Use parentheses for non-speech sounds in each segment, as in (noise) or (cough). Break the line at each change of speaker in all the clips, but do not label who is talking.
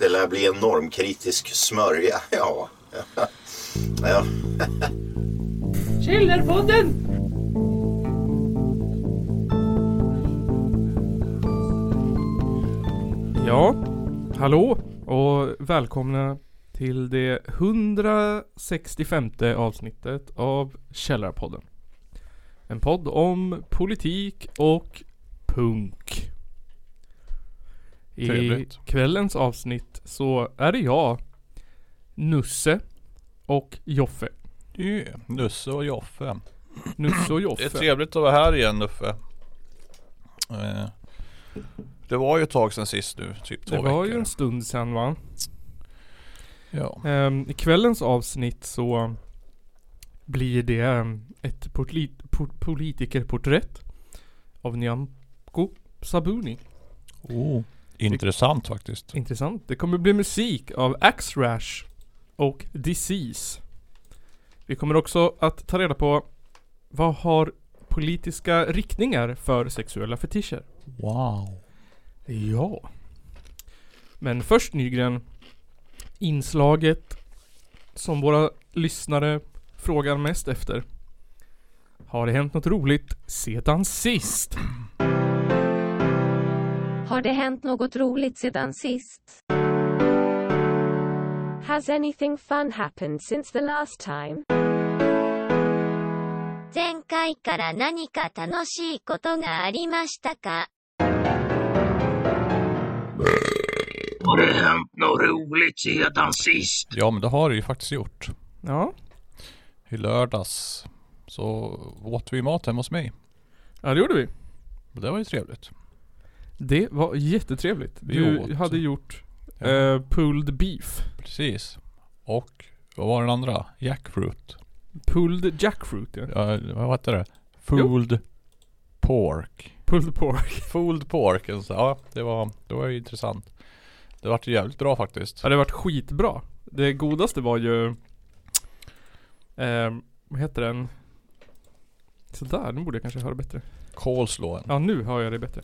Det lär bli en normkritisk smörja. (laughs) Ja. ja.
Källarpodden!
Ja, hallå och välkomna till det 165 avsnittet av Källarpodden. En podd om politik och punk. I
Trevligt.
kvällens avsnitt så är det jag, Nusse och Joffe.
Yeah, Nusse och Joffe.
Nusse och
Det är
Joffe.
trevligt att vara här igen Nuffe. Eh, Det var ju ett tag sedan sist nu, typ två
Det var ju
veckor.
en stund sedan va?
Ja.
Ehm, I kvällens avsnitt så blir det ehm, ett portli- por- politikerporträtt av Nyamko Sabuni.
Oh, intressant faktiskt.
Intressant. Det kommer bli musik av Axe Rash och Disease. Vi kommer också att ta reda på vad har politiska riktningar för sexuella fetischer?
Wow.
Ja. Men först Nygren. Inslaget som våra lyssnare frågar mest efter. Har det hänt något roligt sedan sist?
Har det hänt något roligt sedan sist? Has anything fun happened since the last time?
前回から何か楽しいことがありましたか
Har det hänt något roligt sedan sist?
Ja men det har det ju faktiskt gjort.
Ja.
I lördags så åt vi mat hemma hos mig.
Ja det gjorde vi.
Och Det var ju trevligt.
Det var jättetrevligt.
Vi
Du
åt.
hade gjort
Ja.
eh, pulled beef.
Precis. Och vad var den andra? Jackfruit.
Pulled jackfruit ja.
Ja, vad hette det? Fooled pork.
Pulled pork.
Fooled pork. alltså. Ja, det var, det var ju intressant. Det vart ju jävligt bra faktiskt.
Ja det varit skitbra. Det godaste var ju ehm, Vad heter den? Sådär, nu borde jag kanske höra bättre.
Coleslawen.
Ja nu hör jag det bättre.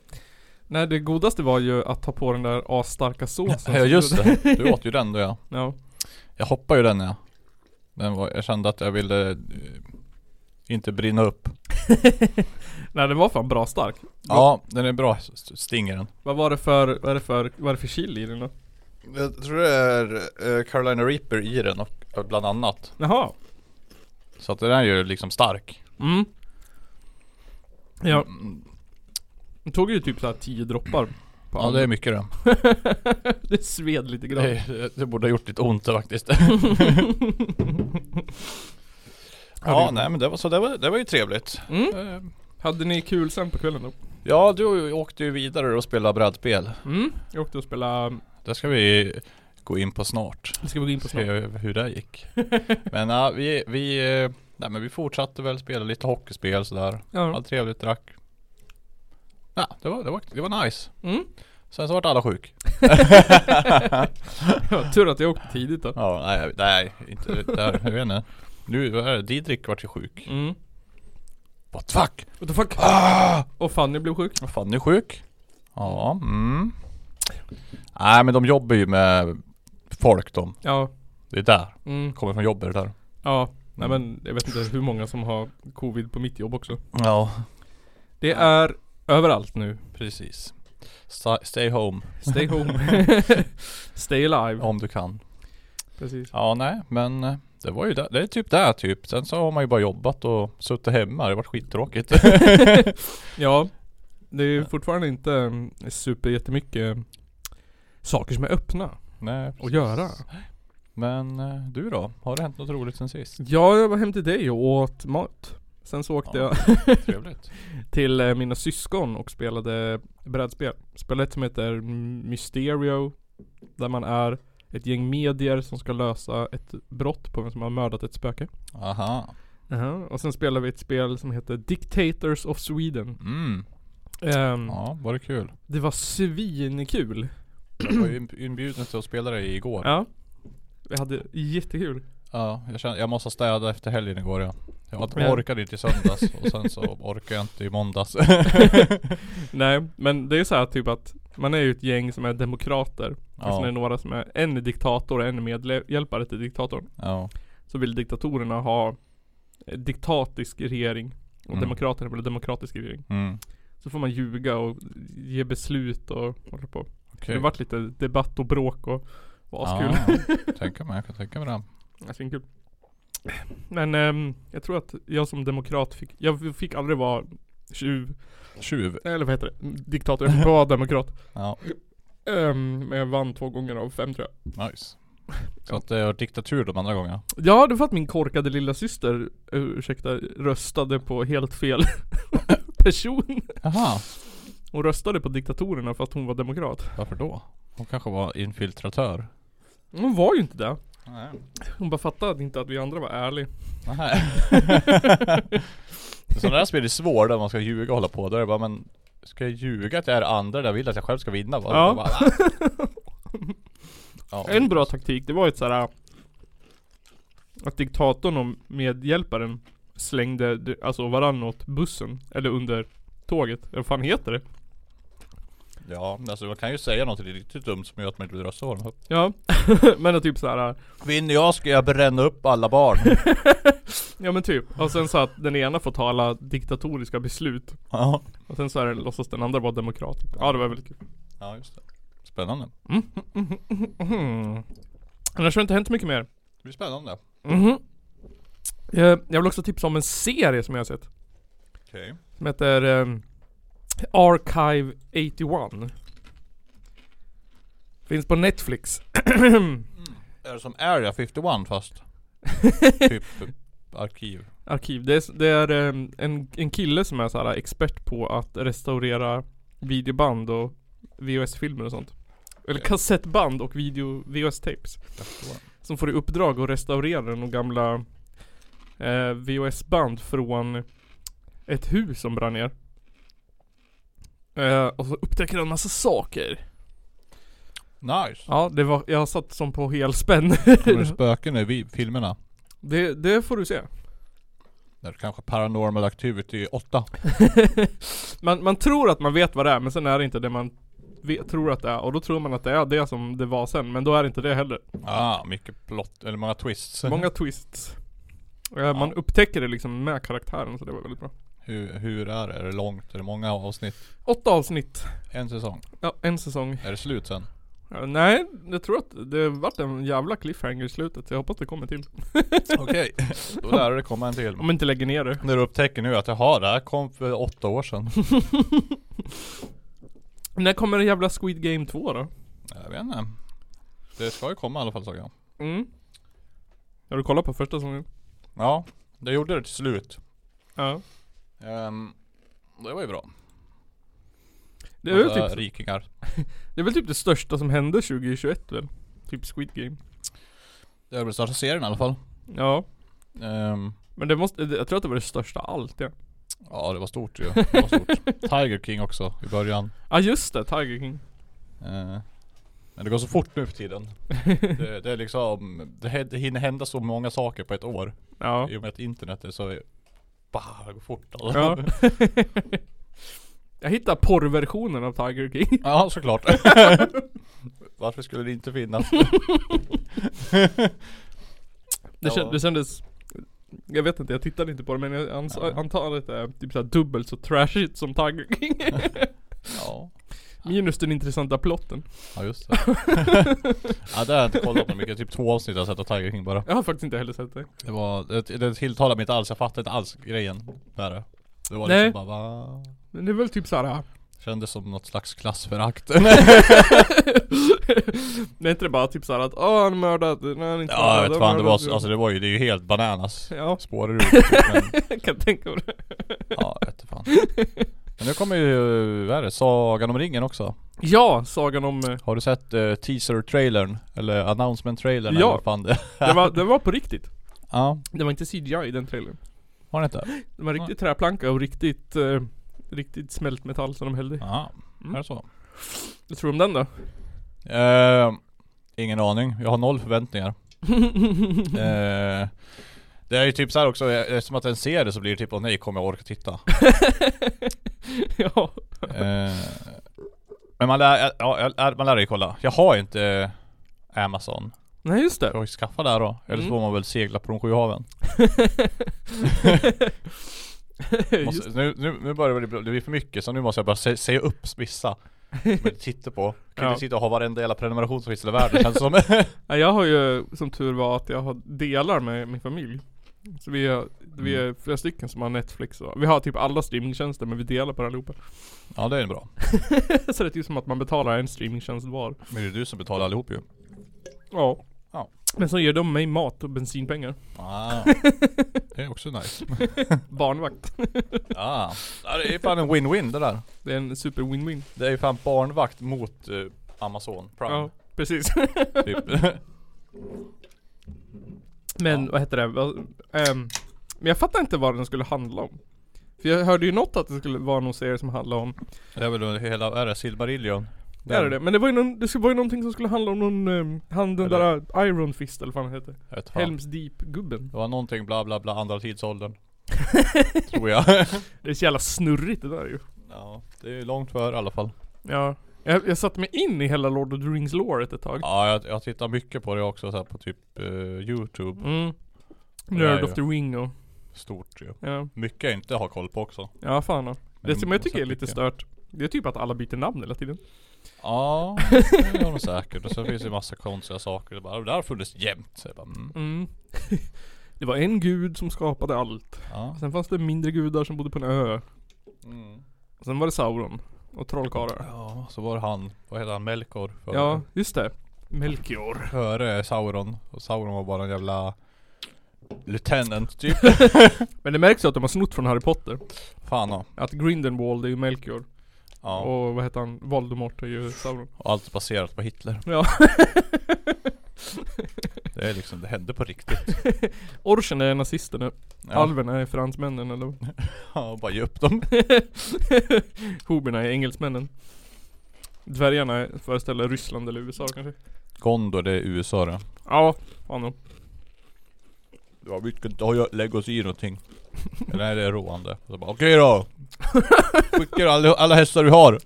Nej det godaste var ju att ta på den där asstarka såsen.
Ja just (laughs) det, du åt ju den då ja.
Ja.
Jag hoppade ju den ja. Den var, jag kände att jag ville eh, inte brinna upp.
Nej den var fan bra stark.
Ja, den är bra, s- s- stinger den.
Vad var det för, vad är det för, vad är det för chili i den då?
Jag tror det är eh, Carolina Reaper i den och och bland annat.
Jaha.
Så att den är ju liksom stark.
Mm. Ja,
Mm,
den tog ju typ såhär 10 droppar. På
Ja det är mycket det.
är (laughs) Det sved lite grann.
Det, det borde ha gjort lite ont (laughs) faktiskt. ja nej men det var så, det var, det var ju trevligt.
Mm.
Eh,
Hade ni kul sen på kvällen då?
Ja du åkte ju vidare och spelade brädspel.
Mm. Jag åkte och spelade,
Det ska vi gå in på snart.
det ska vi gå in på snart.
se hur det
(laughs)
gick. men ja, vi, vi, eh, nej, men vi fortsatte väl spela lite hockeyspel sådär.
Ja.
Allt trevligt, drack. Ja, det var, det var, det var nice.
Mm.
Sen så vart alla sjuk.
Ja, tur att jag åkte tidigt då.
Ja, nej, nej inte där, jag vet inte. Nu, vad är det? Didrik vart ju sjuk.
Mm.
What the fuck?
What the fuck?
Ah!
Och Fanny blev sjuk.
Vad fan, är sjuk? Ja, mm. Nej men de jobbar ju med folk de.
Ja.
Det är där.
Mm.
Kommer från jobbet det där.
Ja, nej men jag vet inte hur många som har covid på mitt jobb också.
Ja,
Det är överallt nu.
precis. Sta- Stay home
(laughs) Stay home. Stay alive.
om du kan.
Precis. (laughs)
Ja nej men eh, det var ju där, det är typ där typ. Sen så har man ju bara jobbat och suttit hemma. Det har varit (laughs) skittråkigt.
Ja, det är ju fortfarande inte mm, super jättemycket saker som är öppna
nej,
att
precis.
göra.
Men eh, du då? Har det hänt något roligt sen sist?
Ja, jag var hem till dig och åt mat. Sen så åkte
Ja.
jag
(laughs) Trevligt.
till eh, mina syskon och spelade brädspel. Spelet som heter Mysterio. Där man är ett gäng medier som ska lösa ett brott på vem som har mördat ett spöke.
Aha.
Jaha, och sen spelar vi ett spel som heter Dictators of Sweden.
Mm.
Ehm,
Ja, var det (clears throat) kul?
Det var svinkul.
Jag var ju inb- inbjuden till att spela det igår.
Ja. Vi hade jättekul.
Ja, jag, kände, jag måste städa efter helgen igår ja. Jag
Ja.
orkade inte i söndags och sen så orkade jag inte i (laughs) måndags.
Nej, men det är så här typ att man är ju ett gäng som är demokrater. Fast det är några som är en diktator och en medhjälpare till diktatorn.
ja.
Så vill diktatorerna ha eh, diktatisk regering. Och
Mm.
demokraterna vill ha demokratisk regering.
Mm.
Så får man ljuga och ge beslut och hålla på.
Okej. Ah.
Det vart lite debatt och bråk och och askul. (laughs)
Ja, tänka mig, jag kan tänka mig det.
Jag tycker Alltså, kul. Men ehm, jag tror att jag som demokrat fick, jag fick aldrig vara tjuv,
Tjuv.
eller vad heter det? Diktator, jag fick bara
(laughs)
vara demokrat.
Ja,
Ehm, men jag vann två gånger av fem tror jag. (laughs)
nice. Så att det har diktatur de andra gångerna.
Ja, det var att min korkade lilla syster ursäkta, röstade på helt fel (laughs) person.
Jaha,
Hon röstade på diktatorerna fast hon var demokrat.
varför då? Hon kanske var infiltratör.
Hon var ju inte det.
Nej.
Hon bara fattade inte att vi andra var ärliga. (laughs)
Nej. Sådana där spel är svåra där man ska ljuga och hålla på. Då är det bara men Ska jag ljuga att jag är andra där jag vill att jag själv ska vinna? Bara,
Ja.
Bara, ja.
(laughs) En bra taktik, det var ju ett såhär Att diktatorn och medhjälparen slängde d- alltså varann åt bussen, eller under tåget, eller vad fan heter det?
Ja, alltså man kan ju säga något riktigt dumt som gör att man inte vill rösta på dem.
Ja, (laughs) men typ såhär
Vinner jag ska jag bränna upp
(laughs)
alla barn.
Ja men typ, och sen så att den ena får ta alla diktatoriska beslut
ja.
Och sen så är det, låtsas den andra vara demokrat Ja det var väldigt kul
ja, just det. Spännande.
mm. Annars har det inte hänt mycket mer
Det blir spännande.
Mhm. Eh, Jag vill också tipsa om en serie som jag har sett
Okej.
Som heter ehm, Archive 81 Finns på Netflix
Är det som Area 51 fast? typ arkiv.
Arkiv Det är, det är ehm, en, en kille som är så här expert på att restaurera videoband och VHS-filmer och sånt Eller
Okej.
kassettband och video, VHS-tapes
Jag förstår.
Som får i uppdrag att restaurera de gamla eh, VHS-band från ett hus som brann ner. Eh, och så upptäcker han en massa saker. (laughs)
Nice.
Ja, det var, jag satt som på helspänn.
Kommer det spöken i vi- filmerna?
det, det får du se.
Där kanske Paranormal Activity 8.
man, man tror att man vet vad det är, men sen är det inte det man vet, tror att det är. Och då tror man att det är det som det var sen, men då är det inte det heller.
Ah, mycket plott, eller många twists.
Många twists. Eh, Man upptäcker det liksom med karaktären, så det var väldigt bra.
Hur, hur är det? Är det långt? Är det många avsnitt?
Åtta avsnitt.
En säsong?
Ja, en säsong.
Är det slut sen?
Ja, Nej, jag tror att det vart en jävla cliffhanger i slutet, så jag hoppas det kommer till.
Okej. Då lär det komma en till.
Om jag inte lägger ner det.
När du upptäcker nu att jaha, det här kom för åtta år sedan.
När kommer det jävla Squid Game 2 då?
Jag vet inte. Det ska ju komma i alla fall såg jag.
Mm. Har du kollat på första säsongen?
Ja, det gjorde det till slut.
Ja.
Ehm, det var ju bra.
Det är, väl
Massa
typ,
Rikingar.
det är väl typ det största som hände 2021 väl? Typ Squid Game.
Det är väl starta serien i alla fall.
Ja.
Ehm,
Men det måste, jag tror att det var det största av allt ja.
ja, det var stort ju. Det var stort.
(laughs)
Tiger King också i början.
Ja just det, Tiger King.
Ehm, men det går så fort nu för
(laughs)
tiden. Det, det är liksom, det, hä- det hinner hända så många saker på ett år.
Ja.
I och med att internet är så, bah, det går fort alltså.
ja. jag hittade porrversionen av Tiger King.
(laughs) Ja, såklart. Varför skulle det
(laughs)
inte finnas?
(laughs) Det,
Ja.
kän, det kändes jag vet inte, jag tittade inte på det men jag ans-
Ja.
antar att det är typ såhär dubbelt så trashigt som Tiger (laughs) King
Ja,
Minus den intressanta plotten
ja
(laughs)
just det. ja, det har jag inte kollat på mycket. Typ två avsnitt har jag sett av Tiger King bara.
Jag har faktiskt inte heller sett det
Det var, det, det tilltalade mig inte alls. Jag fattade inte alls grejen med det. Det var
Nej.
liksom bara va?
Men det är väl typ såhär
Kändes som något slags (laughs) klassförakt.
Det är inte det bara typ såhär att åh han mördade, nej han inte
ja, jag
mördad,
vet fan. Det var,
mördad."
så- alltså det var ju, det är ju helt bananas.
(laughs) Ja,
Spårar ut. typ, Men, (laughs)
jag kan tänka mig det
ja, jag vet fan. Men nu kommer ju, vad är det? Sagan om ringen också.
Ja, sagan om eh,
Har du sett eh, teaser-trailern? Eller announcement-trailern?
Ja.
eller vad fan det (laughs)
det var, det var på riktigt
Ja,
Det var inte CGI i den trailern
har ni inte?
Det var riktigt träplanka och riktigt eh, Riktigt smält metall som de hällde i.
Ja,
Mm.
är det så?
Vad tror du om den då? (laughs)
Eh, ingen aning, jag har noll (laughs) förväntningar. eh, det är ju typ så här också, eh, eftersom att en ser det så blir det typ åh nej, kommer jag orka titta?
ja
eh, Men man lär, ja, jag lär- man lär ju kolla. Jag har ju inte eh, Amazon.
Nej just det.
Jag får ju skaffa det här då. Eller
Mm.
så får man väl segla på de sju haven.
just, (laughs)
Måste, nu, nu, nu börjar det bli, det blir för mycket så nu måste jag börja se, säga upp vissa. Som jag tittar (laughs) på. Jag kan
Ja.
inte sitta och ha varenda jävla prenumeration som finns i hela världen känns det som. (laughs)
ja, jag har ju som tur var att jag har delar med min familj. Så vi är, vi är flera stycken som har Netflix och, vi har typ alla streamingtjänster men vi delar på det allihopa. (laughs)
ja det är bra.
Så det är typ som att man betalar en streamingtjänst var.
Men det är du som betalar allihop ju.
Ja.
Ja.
Men så ger de mig mat och bensinpengar.
Ah, det är också nice.
Barnvakt.
(laughs)
(laughs)
Ah. Ja, det är fan en win-win det där.
Det är en super win-win.
Det är ju fan barnvakt mot eh, Amazon Prime.
Ja, precis.
Typ. (laughs)
Men vad heter det? Vad- ehm, men jag fattar inte vad den skulle handla om. För jag hörde ju något att det skulle vara någon serie som handlade om
det är väl under hela, är det Silmarillion?
Det är det. Men det var ju, någon, det var ju någonting som skulle handla om någon, um, han den
Eller-
där äh, Iron Fist eller vad han heter.
Jag vet fan.
Helms Deep-gubben.
Det var någonting bla bla bla
(laughs)
andra tidsåldern. Tror jag. (laughs)
Det är så jävla snurrigt det där ju.
ja, det är långt för i alla fall.
Ja. Jag, jag satte mig in i hela Lord of the rings loret ett tag.
Ja, jag, jag tittar mycket på det också så här, på typ eh, Youtube.
Mm.
Det där
Nerd
ju.
of the ring och,
Stort ju.
ja.
Mycket jag inte har koll på också.
Ja fan. ja. Det
Men
som jag tycker är lite
mycket.
stört, det är typ att alla byter namn hela tiden.
Ja, det gör de säkert. Och sen finns det ju massa konstiga saker. Det, bara, det där har funnits jämt. Så jag bara, mm,
Mm. (laughs) det var en gud som skapade allt.
ja.
Sen fanns det mindre gudar som bodde på en ö.
Mm.
Och sen var det Sauron. Och trollkarlar.
ja, så var det han, vad heter han, Melkor? Före,
Ja, just det. Melchior.
före Sauron. Och Sauron var bara en jävla
(laughs)
Lieutenant typ.
Men det märks ju att de har snott från Harry Potter.
Fan ja.
Att Grindelwald är ju Melchior.
ja.
Och vad heter han? Voldemort är ju Sauron.
Och allt baserat på Hitler.
Ja.
(laughs) Det är liksom, det hände på riktigt.
Orchen är nazister nu.
Ja,
Alverna är fransmännen eller
(laughs) ja, bara ge
(laughs)
upp dem.
Hoberna är engelsmännen. Dvärgarna är- föreställer Ryssland eller USA kanske.
Gondor det är USA det.
Ja, fan nog.
Ja vi ska inte ha- lägga oss i
(laughs)
någonting. Men Nej det är roande. Så bara, Okej då! Skicka alla, alla hästar vi har!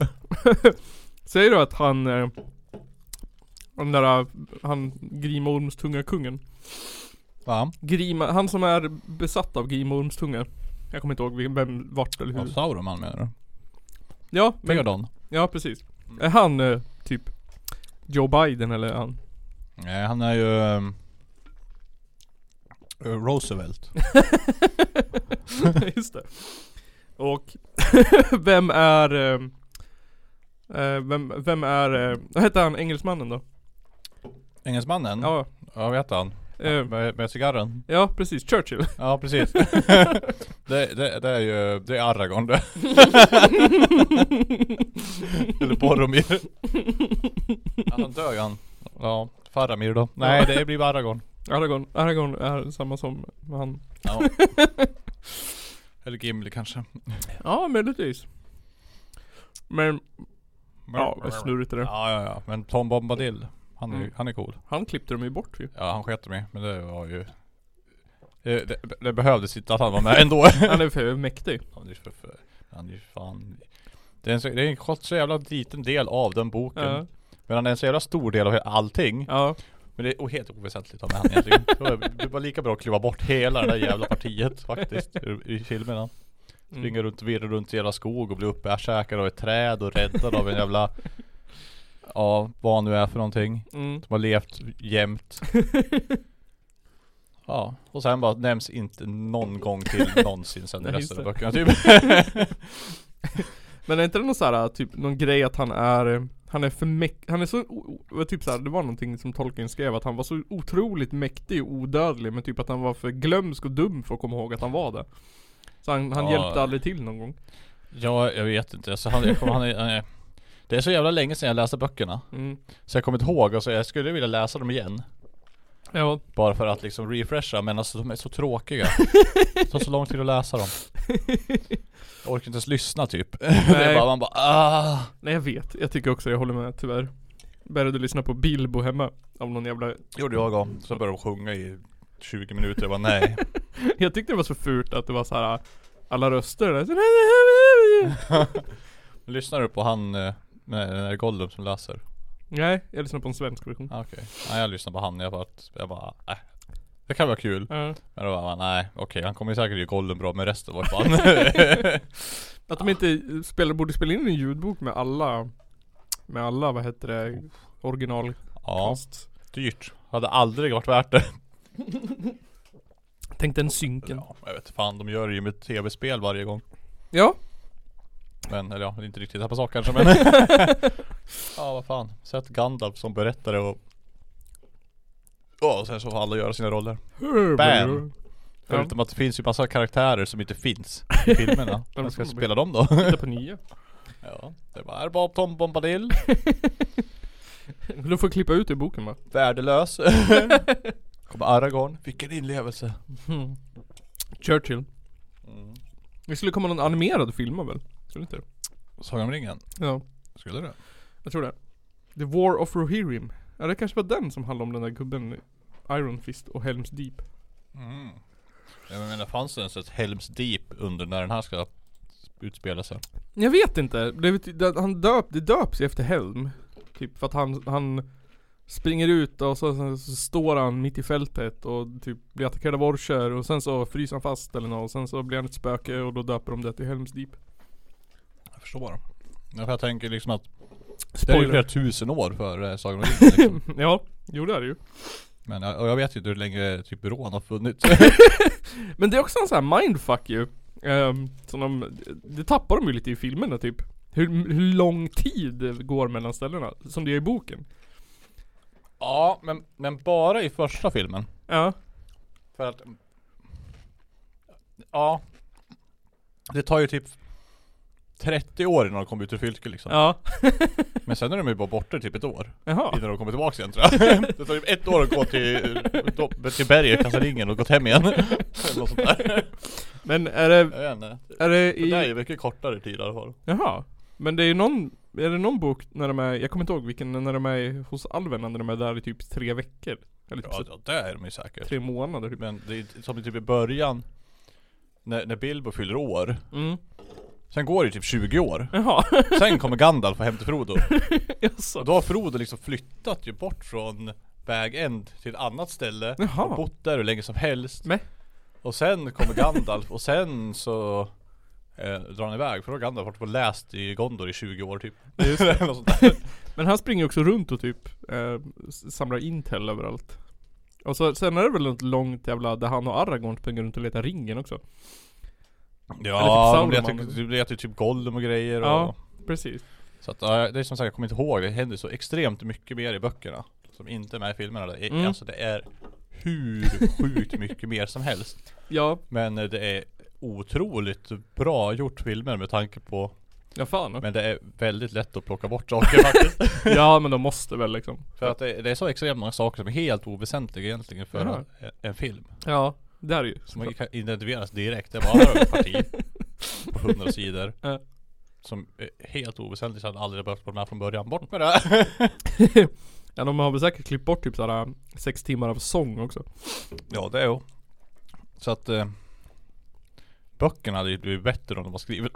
Säger du att han... Eh, den där, eh, han Grima Ormstunga kungen.
Va?
Grima, han som är besatt av Grima Ormstunga. Jag kommer inte ihåg vem, vem vart eller
Ja,
hur.
Sauroman menar du?
Ja, men
Megadon?
Ja precis.
Mm.
Är han eh, typ Joe Biden eller är han?
(laughs)
(laughs)
Nej han är ju... ehm,
(laughs)
Roosevelt.
Just det. Och (laughs) vem är ehm, eh, vem, vem är, eh, vad heter han engelsmannen
Mm.
då?
Engelsmannen? Ja.
Ja,
Jag vet han.
eh,
Med, med cigarren?
ja precis, Churchill. (laughs)
Ja (laughs) precis. det, det, det är ju, det är Aragorn (laughs) det. Eller Boromir. Ja, han dör ju han. Ja, Faramir då. Nej det blir bara Aragorn.
Aragorn, Aragorn är samma som han.
Ja. (laughs) Eller Gimli kanske.
Ja möjligtvis. Men ja, vad snurrigt det där.
Ja, ja, ja. Men Tom Bombadil. Han är,
Mm.
han är cool.
Han klippte dem ju bort ju.
Ja, han sket mig. Men det var ju... Det, det, det behövdes inte att han var med (laughs) ändå.
Han är för mäktig.
han är ju för, för, han är ju fan... Det är en, så, det är en kort- så jävla liten del av den boken.
Ja.
Men han är en så jävla stor del av he- allting.
Ja.
Men det är o- helt oväsentligt av han egentligen. Det var- Det var lika bra att kliva bort hela det där jävla partiet faktiskt. ur- I filmerna.
Mm.
Springa runt, virra runt i hela skog och bli uppäkäkad av ett träd och räddad av
(laughs)
en jävla Ja, vad han nu är för någonting.
Mm.
Som har levt
(laughs)
jämt. Ja, och sen bara nämns inte någon gång till någonsin sen i
Nej,
resten av
just
böckerna typ.
(laughs) Men är inte det någon så här, typ någon grej att han är han är för mäktig, han är så, o- o- typ så här, det var någonting som Tolkien skrev att han var så otroligt mäktig och odödlig men typ att han var för glömsk och dum för att komma ihåg att han var det. Så han, han
Ja.
hjälpte aldrig till någon gång.
Ja, jag vet inte. Så han, jag kommer, han, är- han är, det är så jävla länge sedan jag läste böckerna.
Mm.
Så jag kommer inte ihåg och så jag skulle vilja läsa dem igen.
Ja,
Bara för att liksom refresha men alltså de är så tråkiga. Det tar så lång tid att läsa dem. Jag orkar inte ens lyssna typ. (laughs) Det är
Nej.
bara, man bara ah.
nej jag vet, jag tycker också jag håller med tyvärr. Började lyssna på Bilbo hemma av någon jävla
Gjorde jag också. Så började de sjunga i 20 minuter. Jag bara (laughs) nej.
Jag tyckte det var så fult att det var så här (laughs) alla röster där.
Lyssnar du på han eh, Nej, det är Gollum som läser.
Nej, jag lyssnar på en svensk version.
Ah, Okej. Nej jag lyssnade på han, jag bara, jag bara äh. Det kan vara kul.
Ja.
Men då bara, nej okej han kommer ju säkert göra Gollum bra men resten var ju fan
Att de inte spelar, borde spela in en ljudbok med alla Med alla, vad heter det? Originalcast
Ja, dyrt. Hade aldrig varit värt det.
Tänk den synken
Ja, jag vet fan de gör det ju med tv-spel varje gång.
Ja,
Men, eller ja, det är inte riktigt samma sak kanske men Ja vad fan, sätt Gandalf som berättare och Ja, och sen så får alla göra sina roller. Bam! Förutom att det finns ju massa karaktärer som inte finns i filmerna. Vem ska spela dem då?
Titta på nya
(laughs) ja, det var här Bob Tom Bombadil.
Du får klippa ut det i boken va?
Värdelös. Kommer Aragorn. Vilken inlevelse. Hmm.
Churchill Det skulle komma någon animerad filma väl? Tror du inte det?
Sagan om ringen.
Ja,
Skulle det?
jag tror det The War of Rohirrim Ja det kanske var den som handlade om den där gubben Iron Fist och Helms Deep
Mm. Jag menar fanns det ens ett Helms Deep under när den här ska utspela sig?
Jag vet inte. Det, vet- det, han döp, det döps ju efter Helm. Typ för att han, han springer ut och så, så, så står han mitt i fältet och typ blir attackerad av orcher och sen så fryser han fast eller något och sen så blir han ett spöke och då döper de det till Helms Deep.
Jag förstår. Ja, för jag tänker liksom att det är ju
Spoiler.
flera tusen år före eh, Sagan om ringen liksom.
Ja, jo det (laughs) är det ju.
Men jag, och jag vet ju inte hur länge typ rån har funnits.
Men det är också en sån här mindfuck ju. Um, som de, det tappar de ju lite i filmerna typ. Hur, hur lång tid det går mellan ställena, som det är i boken.
(laughs) ja, men, men bara i första filmen.
Ja.
För att... Ja. Det tar ju typ 30 år innan de kommer ut ur fylke liksom.
Ja.
Men sen är de ju bara borta i typ ett år.
Jaha.
Innan de kommer tillbaka igen tror jag. (laughs) Det tar typ ett år att gå till, till berget, kasta ringen och gått hem igen. (laughs) Eller något sånt där.
Men är det,
Jag vet inte.
är det
Det
i...
där är ju mycket kortare tid i alla fall.
Jaha. Men det är ju någon, är det någon bok när de är, jag kommer inte ihåg vilken, när de är hos alven, när de är där i typ tre veckor? Eller typ
Ja,
så,
ja det är de ju säkert.
tre månader typ.
Men det är som typ i början. När, när Bilbo fyller år.
Mm.
Sen går det ju typ 20 år.
Jaha, (laughs)
Sen kommer Gandalf och hämtar Frodo.
jaså.
Och då har Frodo liksom flyttat ju bort från Bag End till ett annat ställe
Jaha.
och bott där hur länge som helst
Men-
Och sen kommer Gandalf och sen så eh, drar han iväg för då har Gandalf varit på läst i Gondor i 20 år typ Just (laughs) det. Något sånt där.
Men han springer ju också runt och typ eh, s- samlar intel överallt. Och så, sen är det väl något långt jävla, där han och Aragorn springer runt och letar ringen också.
Ja,
Eller typ
det
Sauron.
heter, det heter typ Gollum och grejer och
Ja, precis.
Så att, ja, det är som sagt, jag kommer inte ihåg, det händer så extremt mycket mer i böckerna Som inte är med i filmerna, det är,
Mm.
alltså det är hur sjukt mycket mer som helst
Ja,
Men eh, det är otroligt bra gjort filmer med tanke på
ja fan.
Men det är väldigt lätt att plocka bort saker faktiskt
(laughs) ja men de måste väl liksom.
För att det, det är så extremt många saker som är helt oväsentliga egentligen för
Jaha.
en, en film
Ja, det är det ju.
Som man kan identifieras direkt, det är bara ett parti på
(laughs)
hundra sidor
Ja.
Som är helt oväsentligt, så hade aldrig behövt vara med från början, bort med det!
(laughs) Ja de har väl säkert klippt bort typ såhär sex timmar av sång också.
ja det är ju Så att eh, Böckerna hade ju blivit bättre om de
(laughs)
var skrivna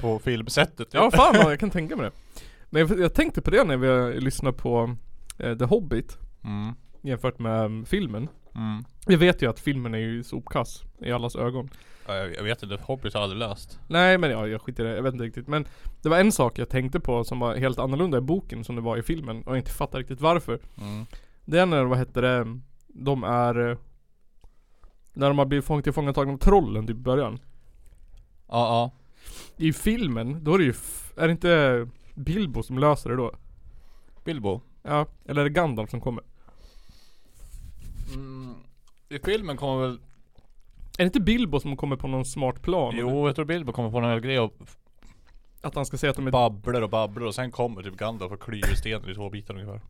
på filmsättet
Ja fan vad jag kan tänka mig det. Men jag, jag tänkte på det när vi lyssnade på eh, The Hobbit
mm,
jämfört med mm, filmen.
mm.
Jag vet ju att filmen är ju sopkass i allas ögon.
Ja, Jag, jag vet inte, Hobbit har jag aldrig läst.
Nej men ja, jag skiter i det, jag vet inte riktigt. Men det var en sak jag tänkte på som var helt annorlunda i boken som det var i filmen och jag inte fattar riktigt varför. Det är när, vad heter det, de är eh, när de har blivit fång- tillfångatagna av trollen typ i början.
Ja, ja.
I filmen, då är det ju, f- är det inte Bilbo som löser det då?
Bilbo.
Ja, eller är det Gandalf som kommer?
Mm, I filmen kommer väl...
Är det inte Bilbo som kommer på någon smart plan?
Jo, jag tror Bilbo kommer på någon hel grej och
Att han ska säga att de är
babblar och babblar och sen kommer typ Gandalf och klyver stenen i två bitar ungefär.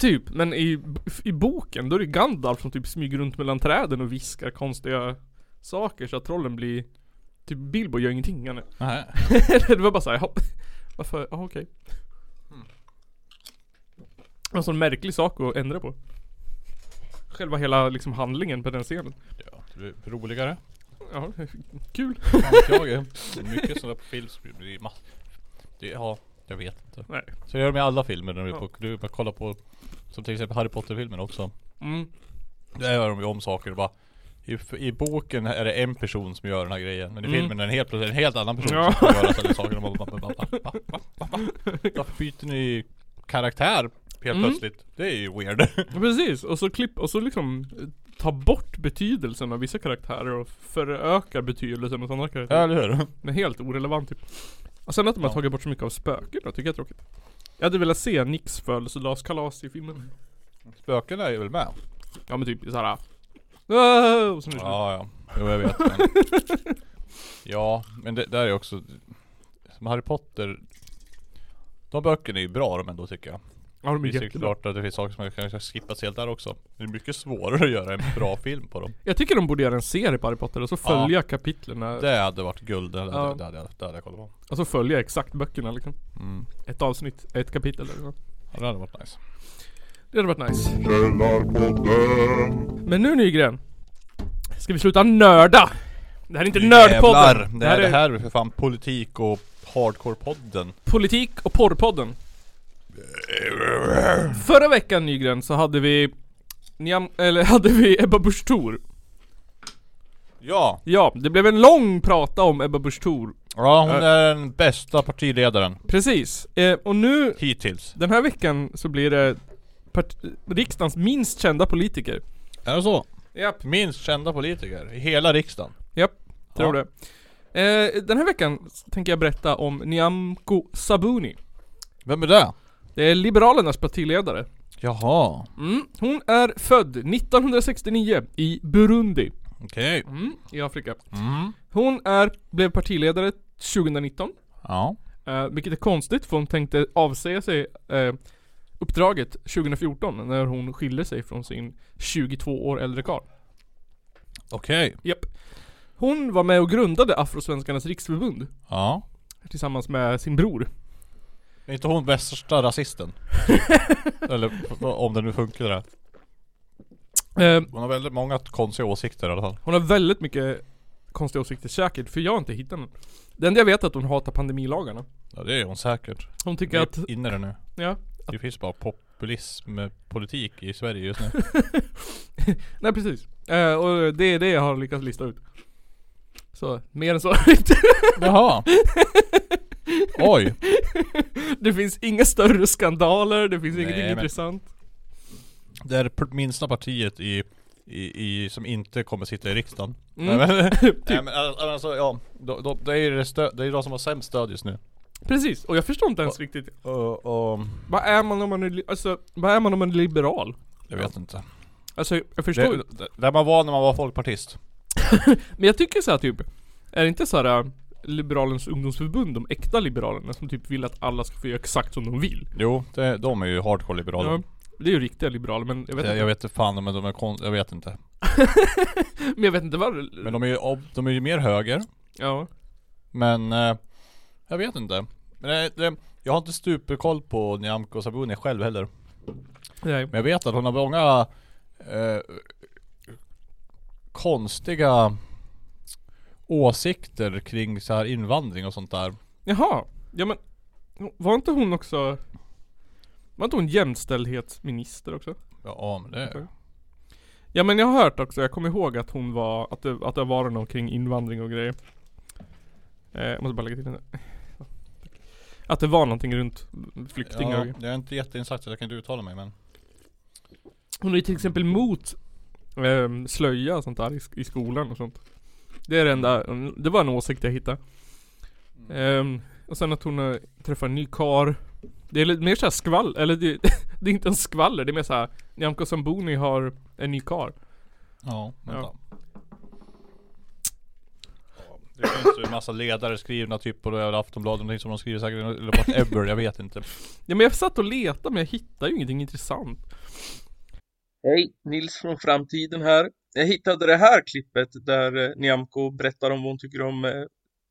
Typ, men i, i boken då är det Gandalf som typ smyger runt mellan träden och viskar konstiga saker så att trollen blir Typ Bilbo gör ingenting han är- (laughs)
Nej.
Det var bara såhär, jaha Varför, ja okej En sån märklig sak att ändra på Själva hela liksom handlingen på den scenen
Ja, det är
(laughs)
roligare.
Ja, kul
Fan vet jag är. Mycket sådana på film som blir mass... Det, ja, Jag vet inte.
Nej.
Så gör de i alla filmer när du är på,
Ja.
du bara kollar på Som till exempel Harry Potter-filmen också.
Mm.
Där gör de ju om saker och bara i, I boken är det en person som gör den här grejen Men i
Mm.
filmen är det helt plötsligt en helt annan person
Ja.
som gör alla saker och bara, bara, bara, bara, bara, bara, bara,
(laughs)
Varför byter ni karaktär helt
Mm.
plötsligt? Det är ju weird (laughs)
Ja, Precis, och så klipp, och så liksom eh, ta bort betydelsen av vissa karaktärer och föröka betydelsen hos andra
Ja
karaktärer.
eller hur?
Men helt orelevant typ. Och sen att de har
Ja.
tagit bort så mycket av spöken då, tycker jag är tråkigt. Jag hade velat se Nicks födelsedagskalas i filmen.
Spökena är väl med?
Ja men typ såhär "Åh", och sen är det slut.
Ja ja, jo jag vet men. (laughs) Ja, men det där är också Som Harry Potter De böckerna är ju bra de ändå tycker jag
Ja de är
Det är ju
jättebra.
klart att det finns saker som jag kanske har skippat helt där också Men Det är mycket svårare att göra en (laughs) bra film på dem
Jag tycker de borde göra en serie på Harry Potter och så
Ja.
följa kapitlen
Det hade varit guld, det hade,
Ja.
det hade, jag- det hade jag kollat på
Alltså följa exakt böckerna liksom.
mm.
Ett avsnitt, ett kapitel eller så.
ja, Det hade varit nice
Det hade varit nice. Men nu Nygren. Ska vi sluta nörda? Det här är inte Nördpodden.
Det här, det här är för fan politik och hardcore-podden
Politik och porrpodden. Förra veckan Nygren så hade vi Niam, eller (laughs) hade vi Ebba Busch Thor.
Ja!
Ja, det blev en lång prata om Ebba Busch Thor.
Ja hon är den bästa partiledaren
Precis. Eh, och nu,
hittills
den här veckan så blir det part- riksdagens minst kända politiker.
Är det så?
Japp.
Minst kända politiker i hela riksdagen
Japp, tror
Ja.
det. Eh, den här veckan s- tänker jag berätta om Nyamko Sabuni.
Vem är det?
Det är Liberalernas partiledare.
Jaha
Mm. Hon är född 1969 i Burundi,
Okej
mm. i Afrika.
mm.
Hon är, blev partiledare 2019,
Ja
eh, vilket är konstigt för hon tänkte avsäga sig eh, uppdraget 2014 när hon skilde sig från sin 22 år äldre karl.
Okej
Japp. Hon var med och grundade Afrosvenskarnas riksförbund
Ja
tillsammans med sin bror.
Är inte hon
(laughs)
värsta rasisten? Eller om det nu funkar det
Eh,
Hon har väldigt många konstiga åsikter i alla fall
Hon har väldigt mycket konstiga åsikter säkert, för jag har inte hittat någon. Det enda jag vet är att hon hatar pandemilagarna.
Ja det är hon säkert
Hon tycker
Jag
att,
är inne i det nu
ja.
Det finns bara populism eh, politik i Sverige just nu
(laughs) Nej precis. Eh, och det är det jag har lyckats lista ut. Så, mer än så (laughs) har jag inte.
Jaha Oj
Det finns inga större skandaler, det finns
Nej,
ingenting
men- (laughs)
intressant.
Det är det p- minsta partiet i, i, i som inte kommer sitta i riksdagen
Mm.
Nej men,
Typ.
nej, men al- alltså ja de, de, det, är ju det, stö, det är ju de som har sämst stöd just nu
Precis, och jag förstår inte ens riktigt.
och, och,
Vad är man om man är, li- alltså, vad är man om man är liberal?
Jag vet inte
Alltså jag förstår ju.
det, det, Där man var när man var folkpartist
Men jag tycker så här typ, är det inte så här eh, Liberalens ungdomsförbund, de äkta liberalerna som typ vill att alla ska få göra exakt som de vill?
Jo, det, de är ju hardcore liberaler
Ja, det är ju riktiga liberaler men jag vet,
Jag,
inte,
jag vet inte fan men de är kon- jag vet inte
Men jag vet inte vad
Men de är ju, ob- de är ju mer höger
Ja.
Men eh, jag vet inte. Men det, det, jag har inte superkoll på Nyamko Sabuni själv heller.
Nej.
Men jag vet att hon har många eh, konstiga åsikter kring så här invandring och sånt där.
Jaha. Ja men var inte hon också Var inte hon jämställdhetsminister också?
Ja men det...
Ja men jag har hört också, jag kommer ihåg att hon var att det, att det var någon kring invandring och grejer. Eh, jag måste bara lägga till den där. Att det var någonting runt flyktingar och
Ja,
grejer.
jag är inte jätteinsatt så jag kan inte uttala mig men.
Hon är ju till exempel mot ehm, slöja och sånt där i, sk- i skolan och sånt. Det är det enda, mm, det var en åsikt jag hittade. Ehm, och sen att hon eh, träffar en ny kar. Det är lite mer såhär skvall, eller det, (laughs) det är inte en skvaller, det är mer såhär Nyamko Samboni har en ny kar.
Ja, vänta.
Ja.
Ja, Det finns ju en massa ledare skrivna typ på det här Aftonbladet, någonting som de skriver säkert, eller whatever, jag vet inte.
Ja men jag satt och letade men jag hittade ju ingenting intressant.
Hej, Nils från framtiden här. Jag hittade det här klippet där eh, Nyamko berättar om vad hon tycker om eh,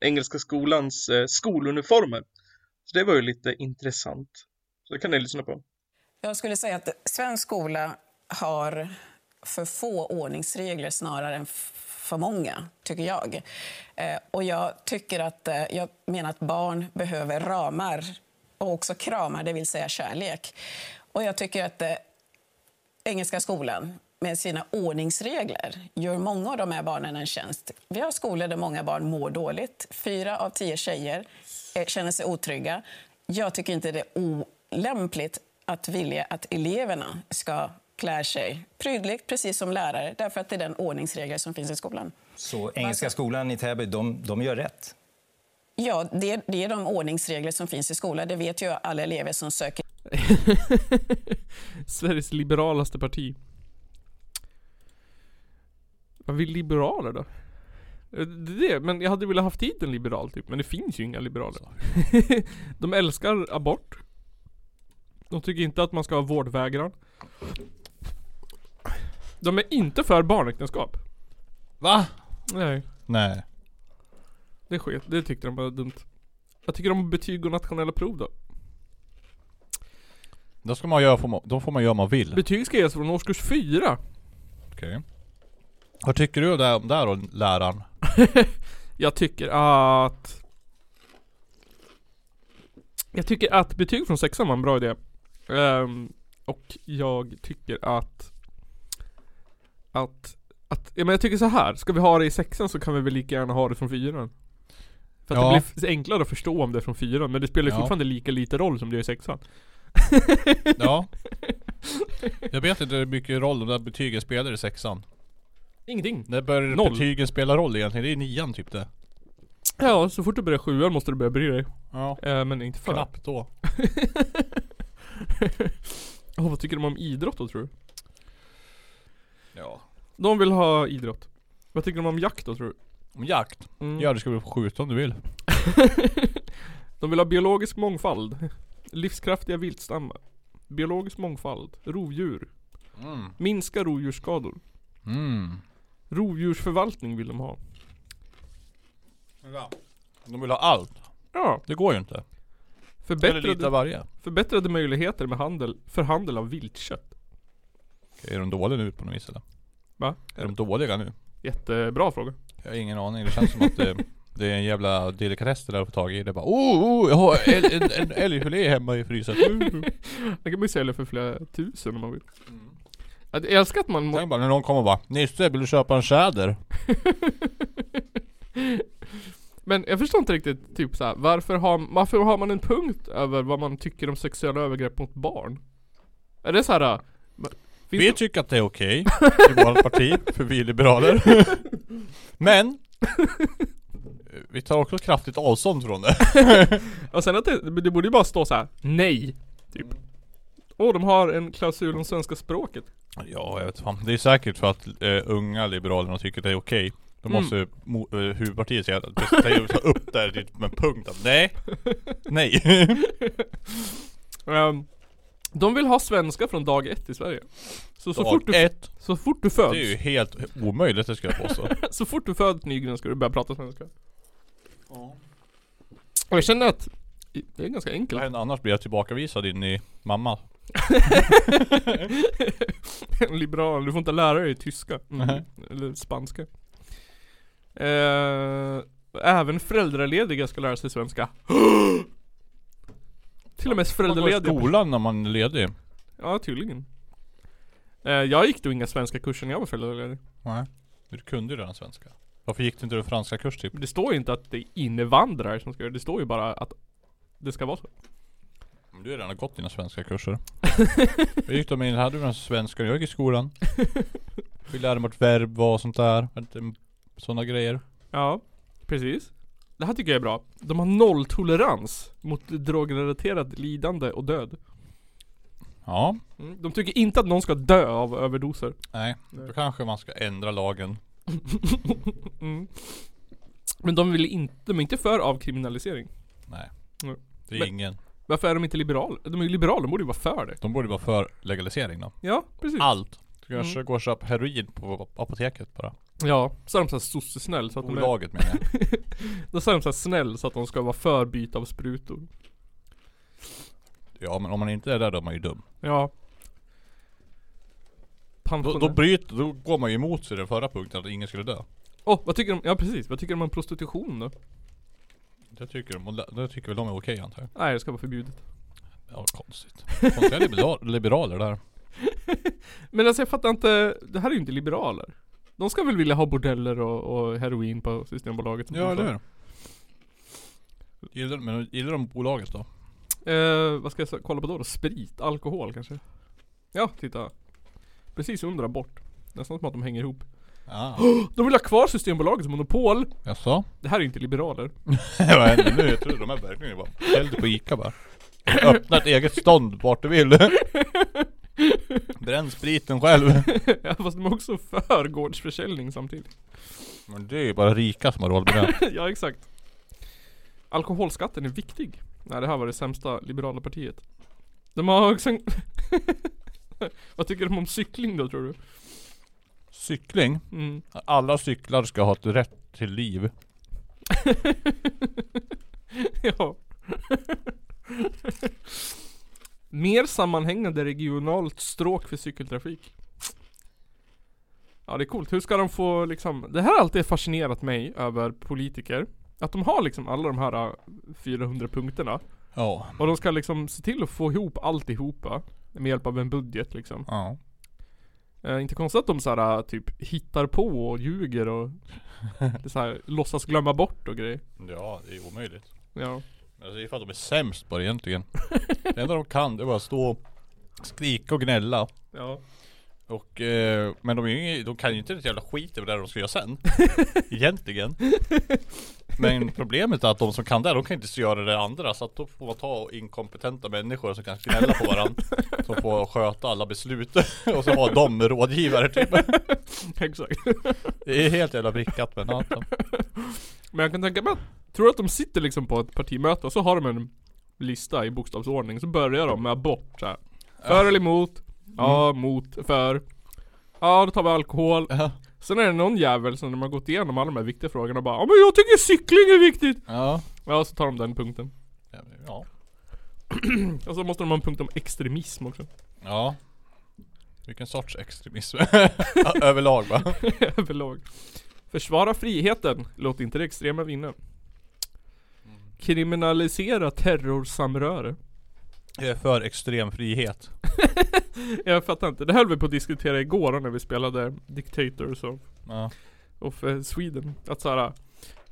Engelska skolans eh, skoluniformer. Så det var ju lite intressant. Så det kan ni lyssna på.
Jag skulle säga att svensk skola har för få ordningsregler snarare än f- för många, tycker jag. Eh, och jag, tycker att, eh, jag menar att barn behöver ramar och också kramar, det vill säga kärlek. Och jag tycker att eh, Engelska skolan med sina ordningsregler gör många av de här barnen en tjänst. Vi har skolor där många barn mår dåligt. Fyra av tio tjejer eh, känner sig otrygga. Jag tycker inte det är olämpligt att vilja att eleverna ska klä sig prydligt, precis som lärare, därför att det är den ordningsregel som finns i skolan.
Så Engelska skolan i Täby, de, de gör rätt.
Ja, det, det är de ordningsregler som finns i skolan. Det vet ju alla elever som söker
(laughs) Sveriges liberalaste parti. Vad vill liberaler då? Eh, Det, är det, men jag hade velat haft hit en liberal typ, men det finns ju inga liberaler. (laughs) De älskar abort. De tycker inte att man ska ha vårdvägran. De är inte för barnäktenskap.
Va?
Nej,
Nej.
det sket. Det tyckte de var dumt. Jag tycker om betyg och nationella prov då.
Då ska man göra, får man, då får man göra vad man vill.
Betyg ska ges från årskurs fyra.
Okej. Vad tycker du om det här, om det här då, läraren?
Jag tycker att... Jag tycker att betyg från sexan var en bra idé. Ehm, och jag tycker att... Att... att ja, men jag tycker så här. ska vi ha det i sexan så kan vi väl lika gärna ha det från fyran. För att
Ja.
det blir f- enklare att förstå om det är från fyran, men det spelar ju
Ja.
fortfarande lika lite roll som det gör i sexan.
Ja. Jag vet inte hur mycket roll de där betygen spelar i sexan.
Ingenting.
När börjar
Noll.
betygen spela roll egentligen? Det är nian typ det.
Ja, så fort du börjar sjuan måste du börja bry dig.
Ja.
Eh, men inte för.
Knappt då.
(laughs) Åh, vad tycker de om idrott då tror du?
Ja.
De vill ha idrott. Vad tycker de om jakt då tror du?
Om jakt?
Mm.
Ja du ska väl få skjuta om du vill.
De vill ha biologisk mångfald. (laughs) Livskraftiga viltstammar. Biologisk mångfald. Rovdjur.
Mm.
Minska rovdjursskador.
Mm.
Rovdjursförvaltning vill de ha.
De vill ha allt.
Ja.
Det går ju inte. Eller lite av
Förbättrade,
varje.
förbättrade möjligheter med handel, för handel av viltkött.
Är de dåliga nu på något vis eller?
Va?
Är de dåliga nu?
Jättebra
(laughs)
fråga.
Jag har ingen aning. Det känns som att (laughs) det, det är en jävla delikatess det där att få tag i. Det är bara oh, oh jag har en, en, en älgfilé hemma i frysen. (laughs)
Det kan man ju sälja för flera tusen om man vill.
Mm.
Jag älskar att man... Må-
Tänk bara när någon kommer och bara Nisse vill du köpa en tjäder?
Men jag förstår inte riktigt typ såhär, varför har, varför har man en punkt över vad man tycker om sexuella övergrepp mot barn? Är det såhär... Finns
Vi
det-
tycker att det är okej (laughs) i vårt parti, för vi är (laughs) liberaler. Men vi tar också kraftigt avstånd från det.
Och sen att det, men det borde ju bara stå så här: nej. Typ. Åh, de har en klausul om svenska språket.
Ja, jag vet fan. Det är säkert för att eh, unga liberalerna tycker att det är okej. Då
Mm.
måste mo- eh, huvudpartiet säga att presentera ta upp det här till en punkt att nej,
(laughs)
nej.
Ehm, de vill ha svenska från dag ett i Sverige. Så, så,
Dag
fort, du,
ett,
så fort du
det är ju
föds,
helt omöjligt det ska jag påstå.
(laughs) så fort du föds Nygren ska du börja prata svenska. Och jag känner att det är ganska
Vad
enkelt.
händer annars? Blir jag tillbakavisad in i mamma?
En liberal, du får inte lära dig tyska. Mm.
Nej.
Eller spanska. Eh, även föräldralediga ska lära sig svenska. (gasps) Till och med
Man går i
föräldralediga.
skolan när man är ledig.
Ja, tydligen. Eh, jag gick då inga svenska kurser när jag var föräldraledig.
Nej. Du kunde ju redan svenska. Varför gick du inte den franska kurs typ?
Men Det står ju inte att det är invandrare som ska göra det. Det står ju bara att det ska vara så.
Men Du har redan gått dina svenska kurser. Jag gick de in, hade du svenska när jag gick i skolan. Vi lärde mig vart verb var och sånt där. Sådana grejer.
Ja, precis. Det här tycker jag är bra. De har nolltolerans mot drogrelaterat lidande och död.
Ja.
Mm. De tycker inte att någon ska dö av överdoser. (laughs)
Nej. Då kanske man ska ändra lagen.
Mm. Men de vill inte, de är inte för avkriminalisering.
Nej.
Mm.
Det är
Men-
ingen.
Varför är de inte liberaler? De är ju liberaler, de borde ju vara för det.
De borde vara för legalisering då.
Ja, precis.
Allt. Du
Mm.
kanske går och köper heroin på apoteket bara.
Ja, så är de såhär sossesnäll så att de är
Bolaget menar jag. (laughs)
Då säger de så här snäll så att de ska vara för byte av sprutor.
Ja men om man inte är där då är man ju dum.
Ja.
Då,
Pensionär.
då bryter, då går man ju emot sig den förra punkten att ingen skulle dö.
Åh, vad tycker de? Ja precis, vad tycker de om prostitution då?
Jag tycker, de- jag tycker väl de är okej antar jag.
Nej, det ska vara förbjudet.
Ja konstigt. Konstiga liberal, (laughs) liberaler där.
Men alltså jag fattar inte, det här är ju inte liberaler. De ska väl vilja ha bordeller och, och heroin på Systembolaget? som
Ja
de
eller
får.
hur? Gillar, men gillar de bolaget då?
Eh, vad ska jag s- kolla på då, då? Sprit? Alkohol kanske? Ja, titta. Precis under abort. Nästan som att de hänger ihop.
Ja.
De vill ha kvar Systembolagets monopol.
Jaså?
Det här är ju inte liberaler. (laughs)
Vad händer nu? (laughs) Jag tror de är verkligen bara Sälj på Ica bara. Öppna ett eget stånd vart du (laughs) vill. Bränn spriten själv.
Ja, fast de är också för gårdsförsäljning samtidigt. (laughs)
Men det är ju bara rika som har råd med det.
ja, exakt. Alkoholskatten är viktig. Nej, det här var det sämsta liberala partiet. De har också en... (laughs) Vad tycker de om cykling då tror du?
Cykling.
Mm.
Alla cyklar ska ha ett rätt till liv.
(laughs) ja. Mer sammanhängande regionalt stråk för cykeltrafik. Ja det är coolt. Hur ska de få liksom, det här har alltid fascinerat mig över politiker. Att de har liksom alla de här äh, 400 punkterna.
Ja.
Och de ska liksom se till att få ihop alltihopa. Med hjälp av en budget liksom.
Ja.
Eh, inte konstigt att de så här, äh, typ hittar på och ljuger och så här, låtsas glömma bort och grejer.
Ja, det är omöjligt.
Ja.
Men alltså, det är för att de är sämst på det egentligen. Det enda de kan det är bara stå och skrika och gnälla.
Ja.
Och, eh, men de, är ju, inget- de kan ju inte ett jävla skit över det de ska göra (laughs) sen. Egentligen. Men problemet är att de som kan det, de kan inte så göra det andra. Så att då får man ta inkompetenta människor som kan gnälla på varandra. Som får sköta alla beslut. Och så har de rådgivare typ.
(laughs) Exakt.
Det är helt jävla brickat men ja.
Men jag kan tänka mig att, tror du att de sitter liksom på ett partimöte och så har de en lista i bokstavsordning, så börjar de med abort så här. För eller emot? Ja, mot, för. Ja, då tar vi alkohol.
Ja.
Sen är det någon jävel som de har gått igenom alla de här viktiga frågorna och bara Ja men jag tycker cykling är viktigt!
Ja.
Ja, så tar de den punkten.
Ja.
Och så måste de ha en punkt om extremism också. (laughs)
ja. Vilken sorts extremism. (laughs) Överlag va?
Överlag. Försvara friheten. Låt inte det extrema vinna. Kriminalisera terrorsamröre.
Jag är för extrem frihet.
Jag fattar inte. Det här höll vi på att diskutera igår då när vi spelade Dictators of,
Ja.
of eh, Sweden. Att så här,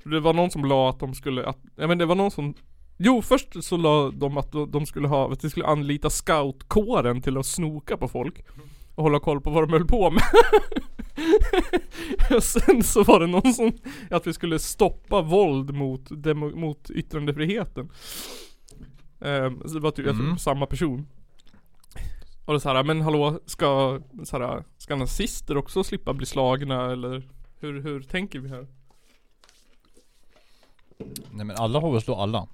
Det var någon som la att de skulle, att, ja men det var någon som Jo först så la de att de de skulle ha, att de skulle anlita scoutkåren till att snoka på folk Och hålla koll på vad de höll på med (laughs) Och sen så var det någon som, att vi skulle stoppa våld mot, demo, mot yttrandefriheten Ehm, så Det var typ, jag tror,
Mm.
samma person och det är så här, men hallå, ska, så här, ska nazister också slippa bli slagna eller hur, hur tänker vi här?
Nej men alla får väl slå alla.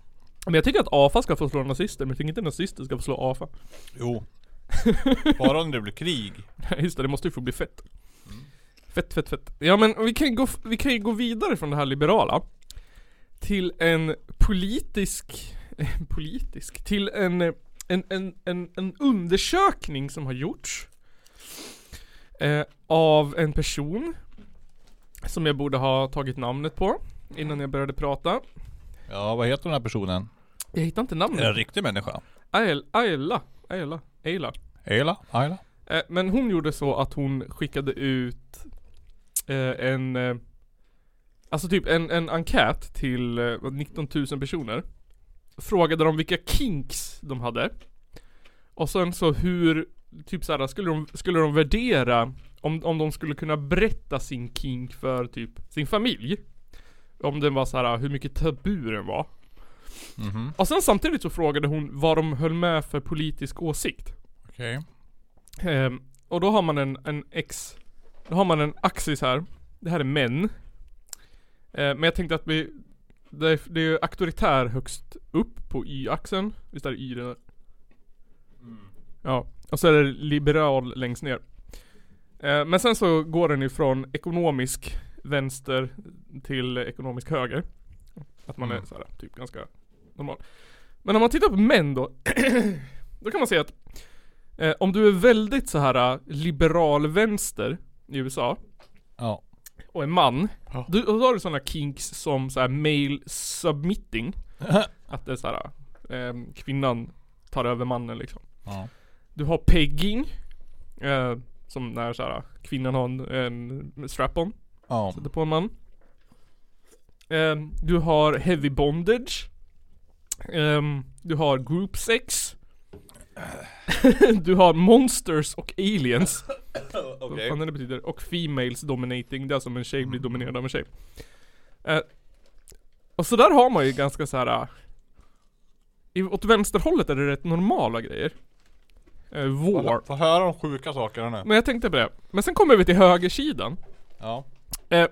Men jag tycker att AFA ska få slå nazister, men jag tycker inte nazister ska få slå AFA.
Jo. Bara om det blir krig.
(laughs) Just det, det måste ju få bli fett.
Mm.
Fett, fett, fett. Ja men vi kan, ju gå, f- vi kan ju gå vidare från det här liberala. Till en politisk, (laughs) eh, politisk, till en, eh, en, en, en, en undersökning som har gjorts. Eh, av en person. Som jag borde ha tagit namnet på. Innan jag började prata.
Ja, vad heter den här personen? Mm.
Jag hittar inte
Är det en
namnet.
riktig människa?
Ael- Aela. Aela. Aela.
Ayla? Ayla?
Eh, Men hon gjorde så att hon skickade ut eh, en eh, Alltså typ en, en enkät till eh, vad, 19 000 personer Frågade dem vilka kinks de hade Och sen så hur Typ såhär, skulle de, skulle de värdera om, om de skulle kunna berätta sin kink för typ sin familj Om den var såhär, hur mycket tabu den var
Mhm.
Och sen samtidigt så frågade hon vad de höll med för politisk åsikt
Okej.
Ehm, och då har man en, en X Då har man en axis här Det här är män Ehm, Men jag tänkte att vi Det är, det är ju auktoritär högst upp på y-axeln Visst är det y det där? Ja, och så är det liberal längst ner Ehm, Men sen så går den ifrån ekonomisk vänster till ekonomisk höger Att man är
Mm.
så här, typ ganska normal Men om man tittar på män då (clears throat) Då kan man se att eh, om du är väldigt så här eh, liberal vänster i USA
Ja.
och en man.
Ja.
Du, och då har du sådana kinks som så här male
(laughs)
submitting. att det är såhär, ehm, kvinnan tar över mannen liksom.
Ja.
Du har pegging. Eh, som när såhär, kvinnan har en, en strap-on.
Ja.
Sätter på en man. Ehm, du har heavy bondage. Ehm, du har group sex. (laughs) du har monsters och aliens. Vad fan det betyder. Och females dominating. Det är alltså om en tjej blir dominerad av en tjej. Eh, och så där har man ju ganska så här. eh, i, åt vänsterhållet är det rätt normala grejer. Eh, war.
Få höra de sjuka sakerna nu.
Men jag tänkte på det. Men sen kommer vi till högersidan.
Ja.
Eh,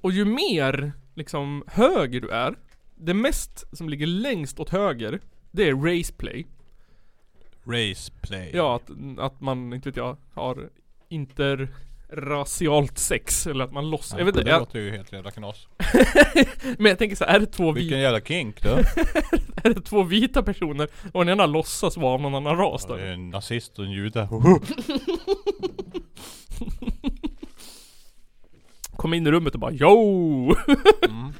och ju mer liksom höger du är, det mest som ligger längst åt höger, det är raceplay.
Race play.
Ja, att, att man, inte vet jag, har interracialt sex eller att man loss...
Ja,
jag vet inte,
det
jag,
låter ju helt jävla knas.
men jag tänker så här, är det två, vi,
Vilken jävla
(laughs)
kink du.
är det (laughs) två vita personer och den ena låtsas vara av någon annan ras
Ja,
då?
det är En nazist och en (laughs) jude. Mm.
Kom in i rummet och bara yo!
Mm.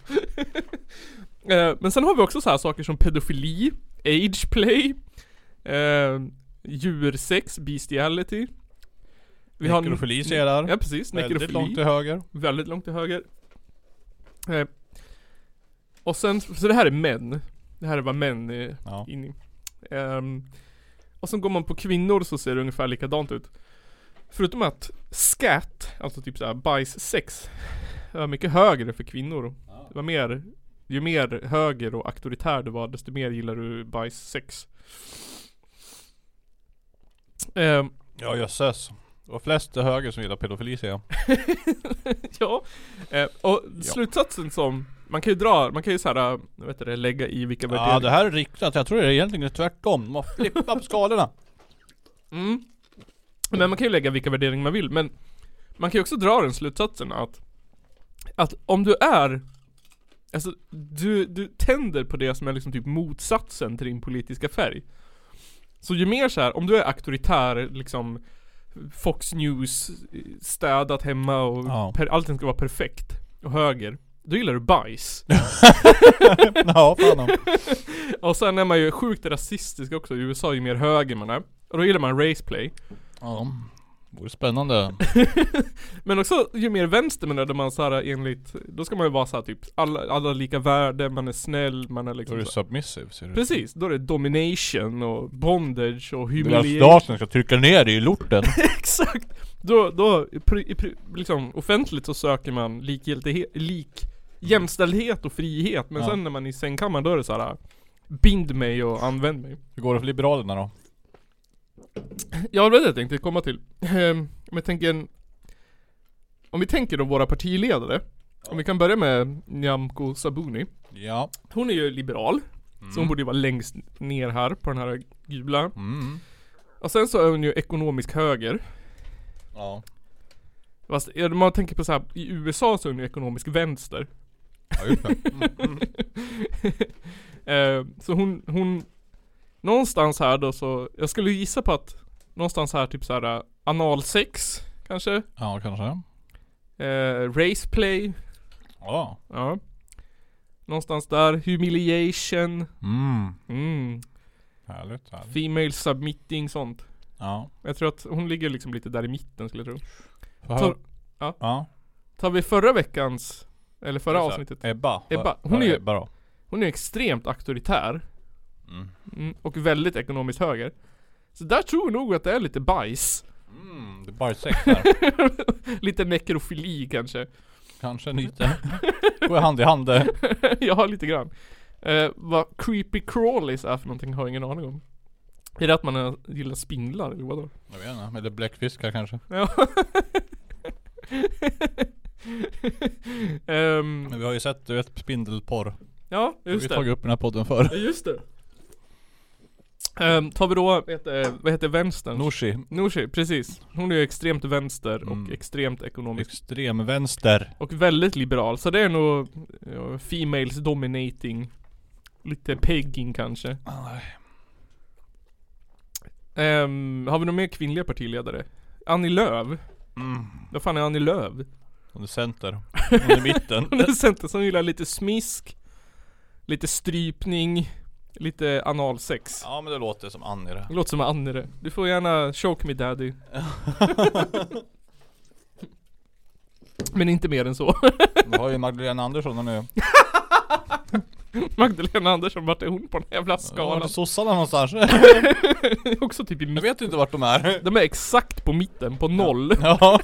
Eh, Men sen har vi också så här saker som pedofili, age play, eh, djursex, bestiality. Vi har-
Nekrofili ser jag där.
Ja precis,
Väldigt långt till
nekrofili.
höger.
Väldigt långt till höger. Eh, och sen, så det här är män. Det här är vad män är
Ja.
in i. Ehm, och sen går man på kvinnor så ser det ungefär likadant ut. Förutom att scat, alltså typ såhär bajssex, var mycket högre för kvinnor. Det var mer, ju mer höger och auktoritär du var desto mer gillar du bajssex. Ehm,
Ja jösses. Det var flest till höger som gillar pedofili ser jag.
(laughs) ja. Eh, och slutsatsen som, man kan ju dra, man kan ju såhär, vad heter det, lägga i vilka
Ja
värderingar.
det här är riktat. Jag tror det är egentligen tvärtom. De har flippat på (laughs) skalorna.
Mm. Men man kan ju lägga vilka värderingar man vill, men man kan ju också dra den slutsatsen att, att om du är, alltså du, du tänder på det som är liksom typ motsatsen till din politiska färg. Så ju mer så här, om du är auktoritär liksom Fox News, eh, städat hemma och
Ja.
per, allting ska vara perfekt och höger, då gillar du bajs.
(laughs) Ja fan. om.
och sen är man ju sjukt rasistisk också i USA ju mer höger man är. Och då gillar man raceplay.
Ja. Vore spännande.
Men också ju mer vänster man är, då man så här enligt, då ska man ju vara så här typ, alla, alla lika värde, man är snäll, man är
Då
liksom
är du
så här.
submissive ser du.
Precis, då är det domination och bondage och
Det är
humiliering.
staten ska trycka ner dig i lorten.
(laughs)
(laughs)
Exakt! Då, då, pri, i pri, liksom offentligt så söker man likgiltighet, lik, jämställdhet och frihet. Men
Ja.
sen när man är i sängkammaren då är det så här. Bind mig och använd mig.
Hur går det för Liberalerna då?
Ja, det var det jag tänkte komma till. Ehm, Om jag tänker en- Om vi tänker då våra partiledare. Om vi kan börja med Nyamko Sabuni.
Ja.
Hon är ju liberal. Så hon borde ju vara längst ner här på den här gula.
Mm.
Och sen så är hon ju ekonomisk höger.
Ja.
Fast ja, man tänker på så här, i USA så är hon ju ekonomisk vänster. (laughs)
Ja just det. Mm.
Eh, så hon, hon Någonstans här då så, jag skulle gissa på att Någonstans här typ så här eh, analsex kanske?
Ja kanske.
Eh, raceplay?
Ja.
Ja. Någonstans där. Humiliation.
Mm.
Mm.
Härligt. härligt.
Female submitting sånt.
Ja.
Jag tror att hon ligger liksom lite där i mitten skulle jag tro.
Får jag
Tar,
höra-
ja.
Ja.
tar vi förra veckans, eller förra
Så här,
avsnittet.
Ebba.
Ebba, hon
Hon
är ju-
är Ebba då?
Hon är extremt auktoritär.
Mm.
Mm, och väldigt ekonomiskt höger. Så där tror jag nog att det är lite bajs. (laughs)
Mm, det är bajssex där.
lite nekrofili kanske. (laughs)
Kanske lite. Går hand i hand där.
ja, lite grann. Eh, vad creepy crawlies är för någonting har jag ingen aning om. Är det att man eh, gillar spindlar eller vadå?
Jag vet inte. Eller bläckfiskar kanske.
Ja. Ehm,
Men vi har ju sett, du vet, spindelporr.
ja,
Just vi
just
har
det.
tagit upp i den här podden för.
Ja, just det. Ehm, tar vi då, vad heter, vad heter vänstern?
Nooshi.
Nooshi, precis. Hon är ju extremt vänster och
Mm.
extremt ekonomisk.
Extremvänster.
Och väldigt liberal, så det är nog ja, Females dominating. Lite pegging kanske.
Ah,
Ehm, har vi några mer kvinnliga partiledare? Annie Lööf?
Mm.
Vad fan är Annie Lööf?
Hon är center. Hon är i mitten.
(laughs) Hon är center som gillar lite smisk, lite strypning, lite analsex.
Ja men det låter som Annie det.
Det låter som Annere. Du får gärna choke me (laughs) daddy. Men inte mer än så. (laughs)
Du har ju Magdalena Andersson hon nu.
Magdalena Andersson, vart är hon på den här jävla
Var är
skalan?
sossarna
(laughs)
någonstans?
Också typ i
Jag
mitten.
vet inte vart de är.
De är exakt på mitten, på noll. (laughs)
Ja.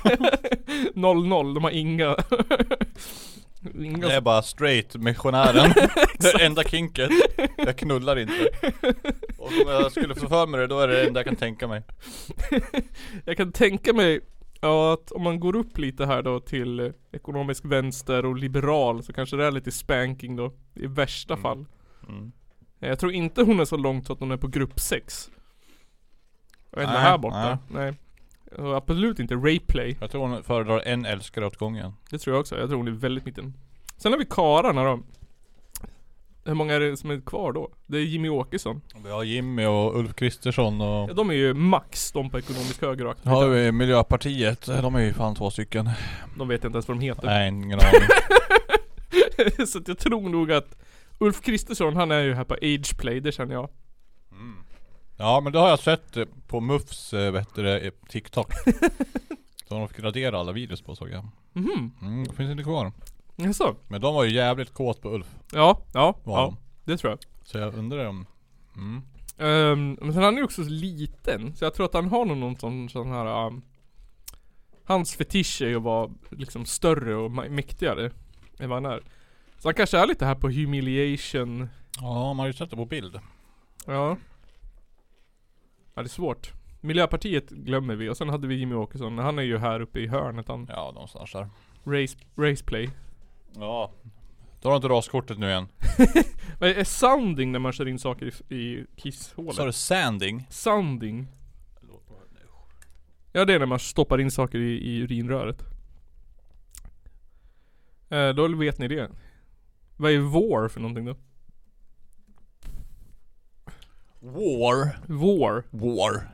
Noll noll, de har inga... (laughs) inga (laughs)
Det är bara straight missionären. det är enda kinket. Jag knullar inte. Och om jag skulle få för mig det, då är det det enda jag kan tänka mig.
Jag kan tänka mig ja, att om man går upp lite här då till eh, ekonomisk vänster och liberal så kanske det är lite spanking då. I värsta fall.
Mm.
Eh, Jag tror inte hon är så långt så att hon är på grupp 6. Jag vet inte
Nej,
här borta. Nej. Och absolut inte rayplay.
Jag tror hon föredrar en älskare åt gången.
Det tror jag också. Jag tror hon är väldigt mitten. Sen har vi karlarna då. Hur många är det som är kvar då? Det är Jimmy Åkesson.
Vi har Jimmy och Ulf Kristersson och...
Ja, de är ju max de på ekonomisk höger och
Sen har
aktivitet.
vi Miljöpartiet, de är ju fan två stycken.
De vet inte ens vad de heter.
Nej, ingen
(laughs)
aning.
så att jag tror nog att Ulf Kristersson han är ju här på ageplay, det känner jag.
Ja men det har jag sett eh, på MUFs, eh, vad heter det, eh,
(laughs)
TikTok. Så de fick radera alla videos på såg jag.
Mhm,
Mm, finns inte kvar.
jaså?
Men de var ju jävligt kåt på Ulf.
Ja, ja,
Var
ja.
de.
Det tror jag.
Så jag undrar om... Mm.
Ehm, men sen han är ju också så liten, så jag tror att han har nog någon sån, sån här... ehm, hans fetisch är ju att vara liksom större och ma- mäktigare än vad han är. Så han kanske är lite här på humiliation.
Ja, man har ju sett det på bild.
Ja. Ja, det är svårt. Miljöpartiet glömmer vi och sen hade vi Jimmy Åkesson. Han är ju här uppe i hörnet han.
Ja, någonstans där.
Race, raceplay.
Ja. Då har du inte raskortet nu igen.
Vad är sounding när man kör in saker i, i
Sa du
kisshålet?
sanding?
Sounding? Ja det är när man stoppar in saker i, i urinröret. Eh, då vet ni det. Vad är vår för någonting då?
War.
Vår?
War.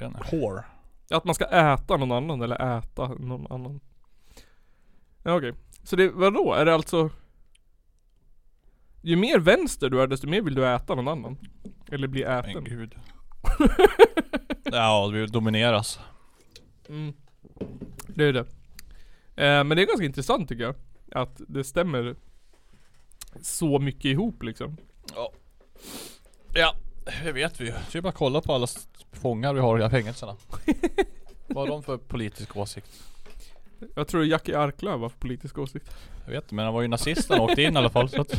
Jag vet inte. Whore.
Att man ska äta någon annan eller äta någon annan. Ja, Okej. Så det, vadå? Är det alltså... Ju mer vänster du är desto mer vill du äta någon annan. Eller bli
Men
äten.
gud. (laughs) ja, vi domineras.
Mm. Det är det. Eh, men det är ganska intressant tycker jag. Att det stämmer så mycket ihop liksom.
Ja. Ja, det vet vi ju. Så vi bara kolla på alla s- fångar vi har i (laughs) fängelserna. Vad har de för politisk åsikt?
Jag tror Jackie Arklöv var för politisk åsikt. (laughs)
Jag vet inte, men han var ju nazist när han åkte in i alla fall så att...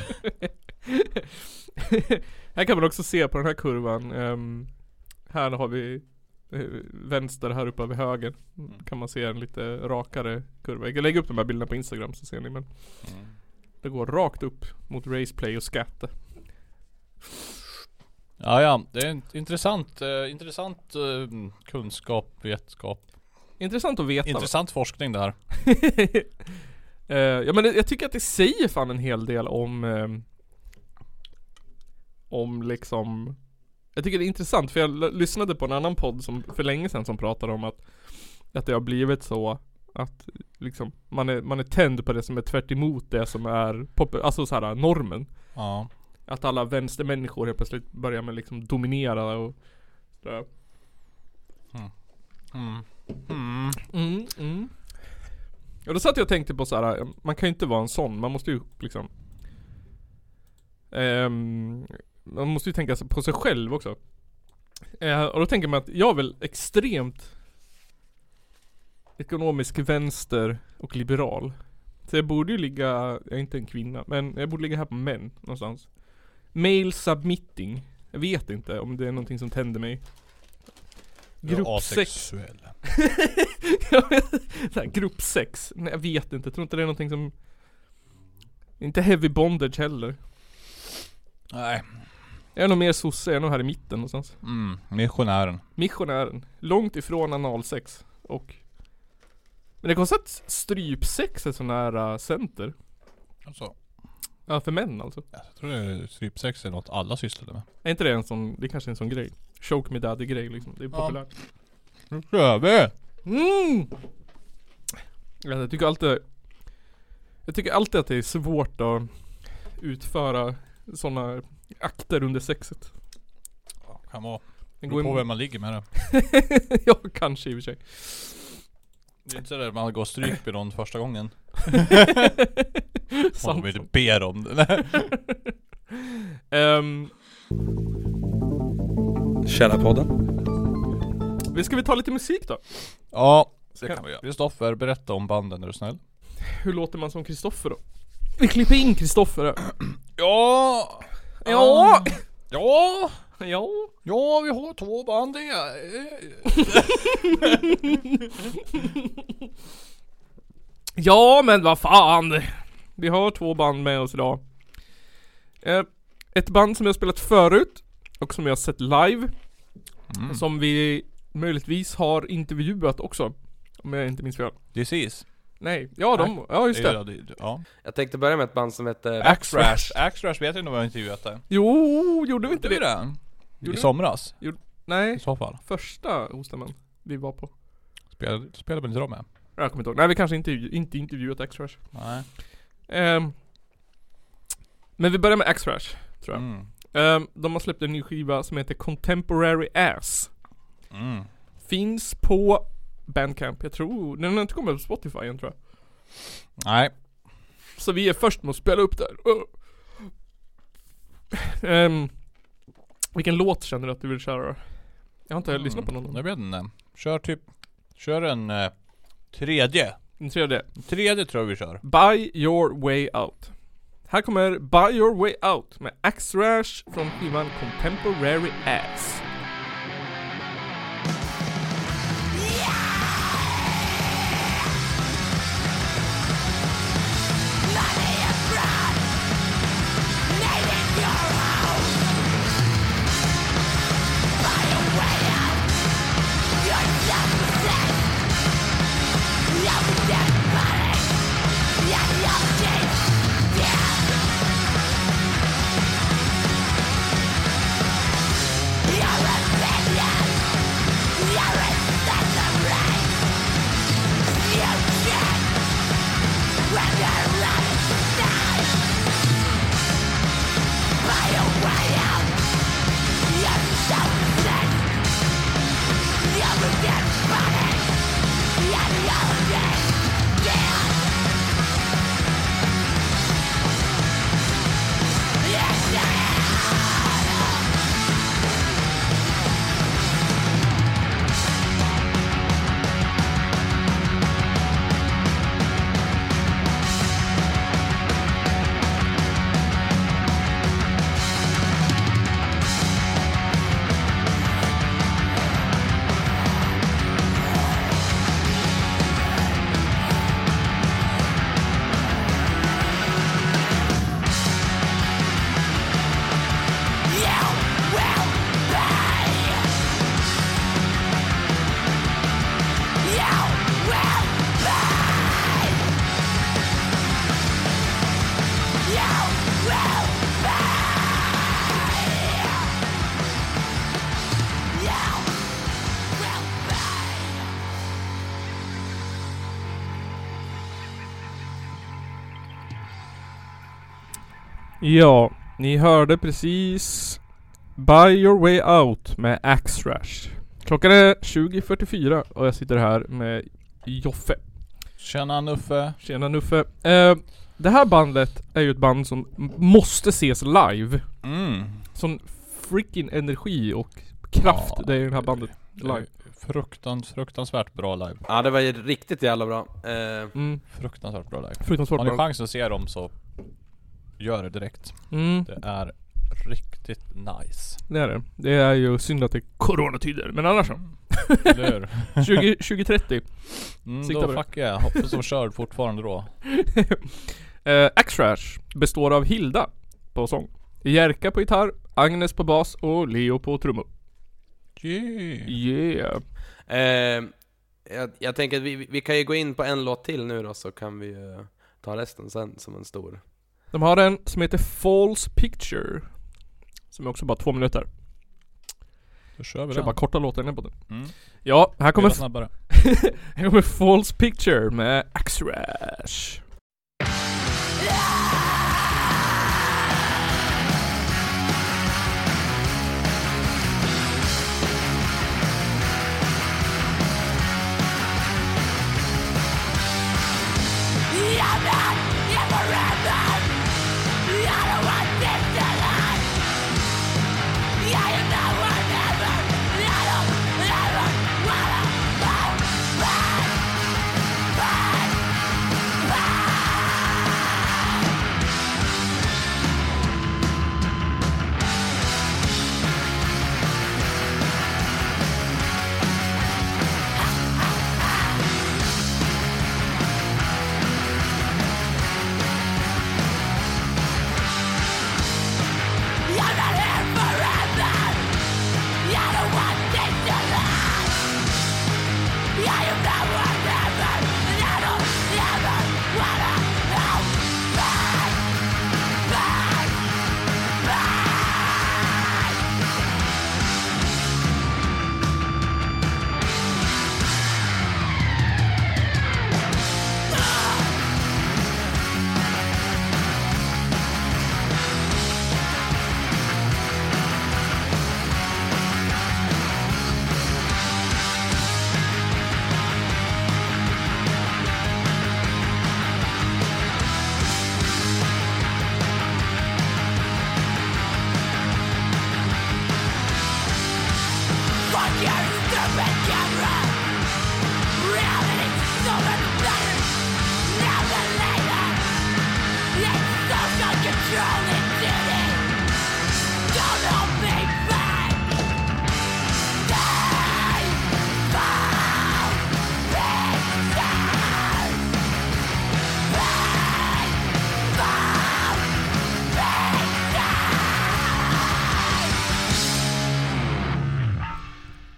här kan man också se på den här kurvan. ehm, här har vi eh, vänster här uppe vid höger. Kan man se en lite rakare kurva. Jag lägger upp de här bilderna på Instagram så ser ni men. Det går rakt upp mot raceplay och skatte.
Ja, ja. Det är en intressant, eh, intressant eh, kunskap, vetskap.
Intressant att veta. va?
Intressant forskning det här.
(laughs) Eh, ja men det, jag tycker att det säger fan en hel del om ehm, Om liksom Jag tycker det är intressant för jag l- lyssnade på en annan podd som för länge sedan som pratade om att Att det har blivit så att liksom man är, man är tänd på det som är tvärt emot det som är pop- alltså så här, normen
Ja.
Att alla vänstermänniskor helt plötsligt börjar med liksom dominera och sådär.
Mm. Mm.
Mm, mm. Och då satt jag och tänkte på så här. eh, man kan ju inte vara en sån, man måste ju liksom ehm, Man måste ju tänka på sig själv också. Eh, och då tänker man att jag är väl extremt Ekonomisk vänster och liberal. Så jag borde ju ligga, jag är inte en kvinna, men jag borde ligga här på män någonstans. Male submitting. Jag vet inte om det är någonting som tänder mig.
Jag är
Grupp 6
asexuell.
(laughs) så här, grupp sex. Nej jag vet inte, jag tror inte det är någonting som Inte heavy bondage heller
Nej.
Jag är nog mer sosse, jag är nog här i mitten någonstans
Mm. Missionären.
Missionären, långt ifrån analsex och Men det är konstigt att strypsex är så nära äh, center
Alltså,
Ja för män alltså
jag tror det är strypsex eller något alla sysslade med.
Är inte det en sån, det är kanske är en sån grej Choke me daddy grej liksom, det är
Ja.
populärt
Nu kör vi!
Mm! Jag tycker alltid Jag tycker alltid att det är svårt att utföra sådana akter under sexet.
Ja, kan vara.
Det
Beror
går
på
emot.
vem man ligger med det.
(laughs) ja, kanske i och för sig.
Det är inte sådär man går stryk med någon första (laughs) gången. Om
Sant.
de inte ber om det.
Ehm,
Källarpodden.
vi ska vi ta lite musik då?
(laughs) ja, det
Ska-
kan vi göra. Kristoffer, berätta om banden är du snäll.
Hur låter man som Kristoffer då? Vi klipper in Kristoffer här.
Ja!
Ja!
Ja!
(laughs) Ja!
Ja, vi har två band det.
Ja men vad fan! Vi har två band med oss idag. Eh, Ett band som jag spelat förut och som jag har sett live. Som vi möjligtvis har intervjuat också. Om jag inte minns fel.
Precis.
Nej, ja de, ja just det.
Ja, det- Ja.
Jag tänkte börja med ett band som heter...
Axrash. Axrash vet jag inte om jag har intervjuat dig.
Jo, gjorde vi inte
Gjorde
det?
vi det? I
Gjorde vi?
somras? I
Nej,
så fall.
första Ostämman vi var på.
Spelade, spelade väl inte de med?
Jag kommer inte ihåg. Nej vi kanske inte, inte intervjuat Axrash.
Nej.
Ehm, men vi börjar med Axrash. Tror jag.
Mm.
Ehm, de har släppt en ny skiva som heter Contemporary Ass.
Mm.
Finns på Bandcamp, jag tror. Den har inte kommit på Spotify än tror jag.
Nej.
Så vi är först med att spela upp där. Uh. Ehm, vilken låt känner du att du vill köra? Jag har inte lyssnat på någon.
Jag vet inte. Kör typ... Kör en... Eh, tredje.
Den tredje.
Tredje tror jag vi kör.
Buy your way out. Här kommer Buy your way out med Axe Rash från skivan Contemporary Ass. Ja, ni hörde precis Buy Your Way Out med Axe Rash. Klockan är 20.44 och jag sitter här med Joffe.
Tjena Nuffe.
Tjena Nuffe. Eh, det här bandet är ju ett band som m- måste ses live.
Mm.
Sån freaking energi och kraft
Ja.
det är i det här bandet live.
Fruktans, fruktansvärt bra live.
Ja, det var ju riktigt jävla bra. Eh,
Mm,
Fruktansvärt bra live.
fruktansvärt
Har ni
bra.
chansen att se dem så gör det direkt.
Mm,
Det är riktigt (laughs) nice.
det är det. Det är ju synd att det är coronatider, men annars så.
Eller hur?
20, 2030.
Mm,
Sikta på
då
det.
fuck yeah. Hoppas de kör fortfarande då.
Eh, Axe Rash består av Hilda på sång, Jerka på gitarr, Agnes på bas och Leo på trummor.
Yeah.
Yeah.
eh, jag, jag tänker att vi, vi kan ju gå in på en låt till nu då, så kan vi ju ta resten sen som en stor.
De har en som heter False Picture. Som är också bara två minuter.
Då kör vi
Kör
den.
bara korta låtar innan på den.
Mm.
Ja, här kommer...
Spela snabbare.
(laughs) Här kommer False Picture med Axrash.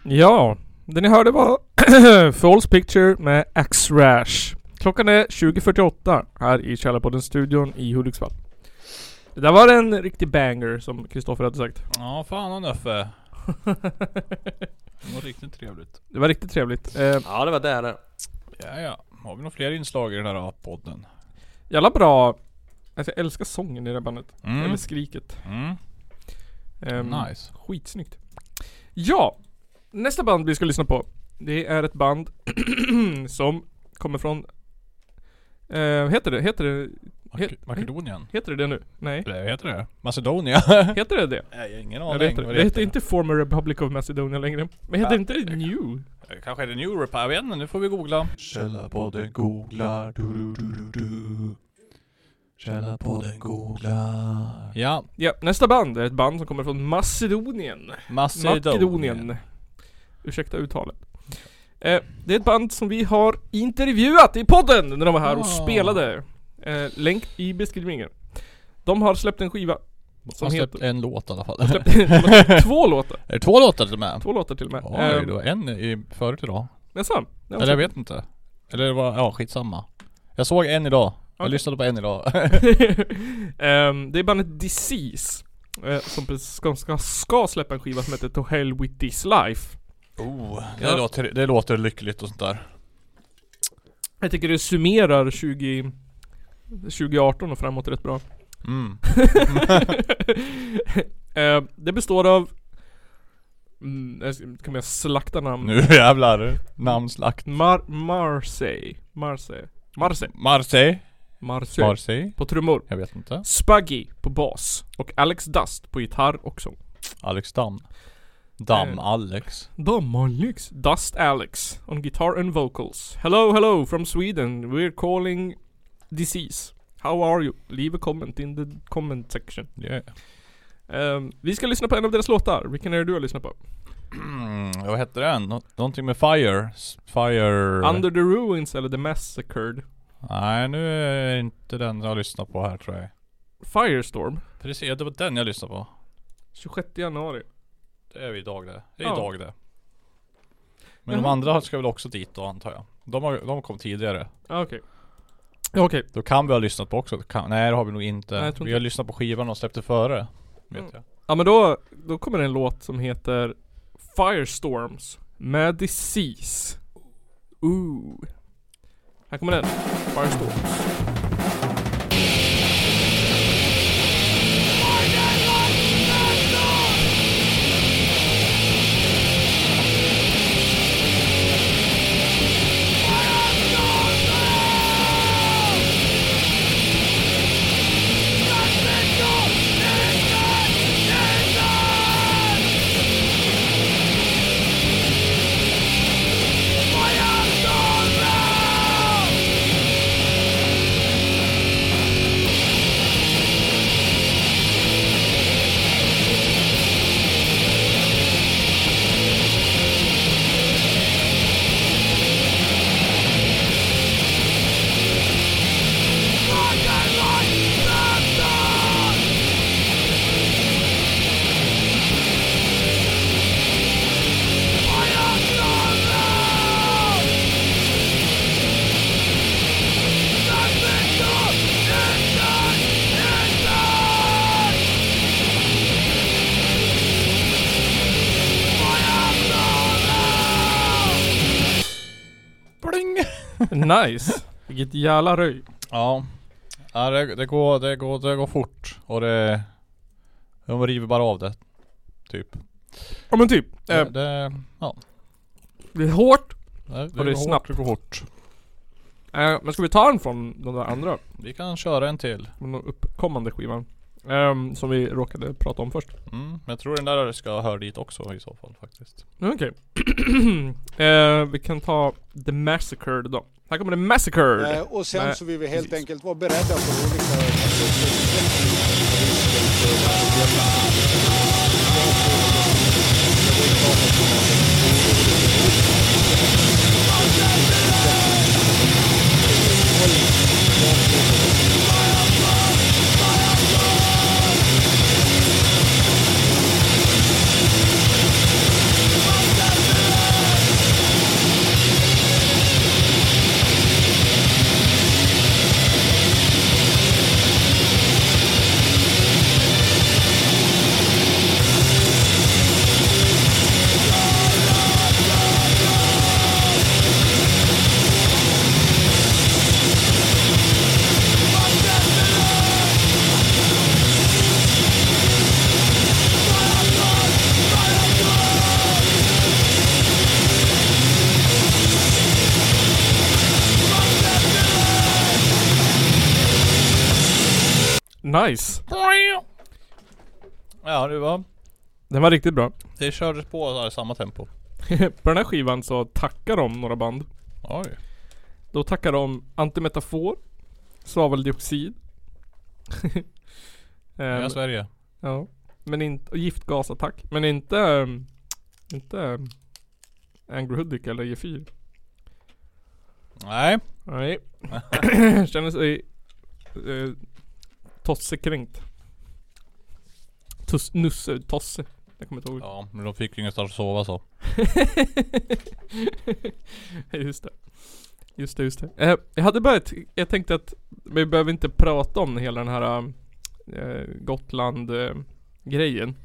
Ja, det ni hörde var (clears throat) False Picture med Axrash. Klockan är 20.48 här i Källarpodden-studion i Hudiksvall. Det där var en riktig banger som Kristoffer hade sagt.
Ja, fan och (laughs) Nöffe. Det var riktigt trevligt.
Det var riktigt trevligt. Eh,
Ja, det var det det.
Ja, ja. Har vi några fler inslag i den här podden?
jävla bra. Alltså jag älskar sången i det här bandet.
Mm.
Eller skriket.
Mm.
Ehm,
Nice.
Skitsnyggt. Ja, nästa band vi ska lyssna på. Det är ett band (clears throat) som kommer från... Eh, heter det? Heter det?
Mak- Makedonien?
Heter det det nu? Nej.
Eller heter det Macedonia? (laughs)
Heter det det?
Nej, jag har ingen
Ja,
aning.
det heter,
vad
det. Äh. det heter inte Former Republic of Macedonia längre. Men heter inte det New?
Eh, Kanske är det New Europe, jag vet inte, nu får vi googla. Källarpodden googlar. Du, du, du, du. Källarpodden googlar. Ja,
Ja, nästa band är ett band som kommer från Macedonien. Makedonien. Ursäkta uttalet. Eh, det är ett band som vi har intervjuat i podden när de var här och
Ah.
spelade. Eh, länk i beskrivningen. De har släppt en skiva. Som
Som
heter... (laughs)
släppte en låt i alla fall.
de har släppt två låtar.
(laughs) Är det två låtar till och med?
Två låtar till och med.
Oj,
Eh,
det var en i, förut idag.
Jaså? Det var
Eller
(laughs)
jag
så.
vet inte. Eller det var, ja skitsamma. Jag såg en idag. Jag
Okej.
lyssnade på en idag.
Ehm, det är bandet Disease. eh, Som precis ska, ska, ska släppa en skiva som heter To Hell With This Life.
oh, det,
Ja.
låter, det låter lyckligt och sånt där.
Jag tycker det summerar 20, 2018 och framåt rätt bra.
Mm.
(laughs) Eh, det består av... Mm, jag ska- kan jag slakta namn?
Nu (laughs) jävlar. Namnslakt.
Mar- Marseille. Marseille. Marseille.
Marseille.
Marseille.
Marseille.
på trummor.
Jag vet inte.
Spaggy på bas. Och Alex Dust på gitarr och sång.
Alex Dam. Dam
Eh.
Alex.
Dom Alex. Dust Alex on guitar and vocals. Hello, hello from Sweden. We're calling disease. How are you? Leave a comment in the comment section.
Yeah.
Ehm, vi ska lyssna på en av deras låtar. Vilken är det du har lyssnat på?
Mm, (clears throat) vad hette den? Nå- någonting med Fire? S- Fire...
Under the Ruins eller The Massacred.
Nej, nu är det inte den jag lyssnar på här tror jag.
Firestorm.
Precis, det var den jag lyssnade på.
26 januari.
Det är ju idag det. Det är
Ja.
idag det. Men de
Jaha.
andra ska väl också dit då antar jag. De, har, de kom tidigare.
Ah, Okej. Ja, Okej.
Då kan vi ha lyssnat på också. Kan, nej det har vi nog inte.
Nej, jag tror
vi
inte. Mm.
har lyssnat på skivan och släppte före. Vet jag.
Ja men då, då kommer en låt som heter Firestorms med Disease. Ooh. Här kommer den. Firestorms. (laughs) Nice! Vilket jävla röj.
Ja. ja det, det, går, det, går, det går fort och det... De river bara av det. Typ.
Ja men typ.
Det,
Eh,
det, ja.
det är hårt.
Det, det,
är
går
snabbt.
Hårt, det går fort.
Eh, men ska vi ta den från den där andra?
Vi kan köra en till.
Den uppkommande skivan. Ehm, som vi råkade prata om först.
Mm. Men jag tror den där ska höra dit också i så fall faktiskt.
Mm, Okej. (clears throat) Eh, vi kan ta The Massacre då. Här kommer The Massacre!
Eh, Och sen
Med-
så vill vi helt enkelt vara beredda på olika...
Nice!
Ja det var...
Den var riktigt bra. (laughs)
Det kördes på där i samma tempo.
på den här skivan så tackar de några band.
Oj.
Då tackar de Antimetafor, Svaveldioxid. (laughs)
Nya
Ehm,
Sverige.
Ja. Men inte, och giftgasattack. Men inte... ehm, inte... ehm, Angry Hoodic eller G4.
Nej. (coughs)
Nej. Känner sig... Eh, tossekränkt. Tuss, nusse, tosse. Jag kommer (laughs) inte ihåg.
Ja men de fick ju ingenstans att sova så.
just det. Just det, just det. Eh, jag hade börjat, jag tänkte att vi behöver inte prata om hela den här eh, Gotland-grejen.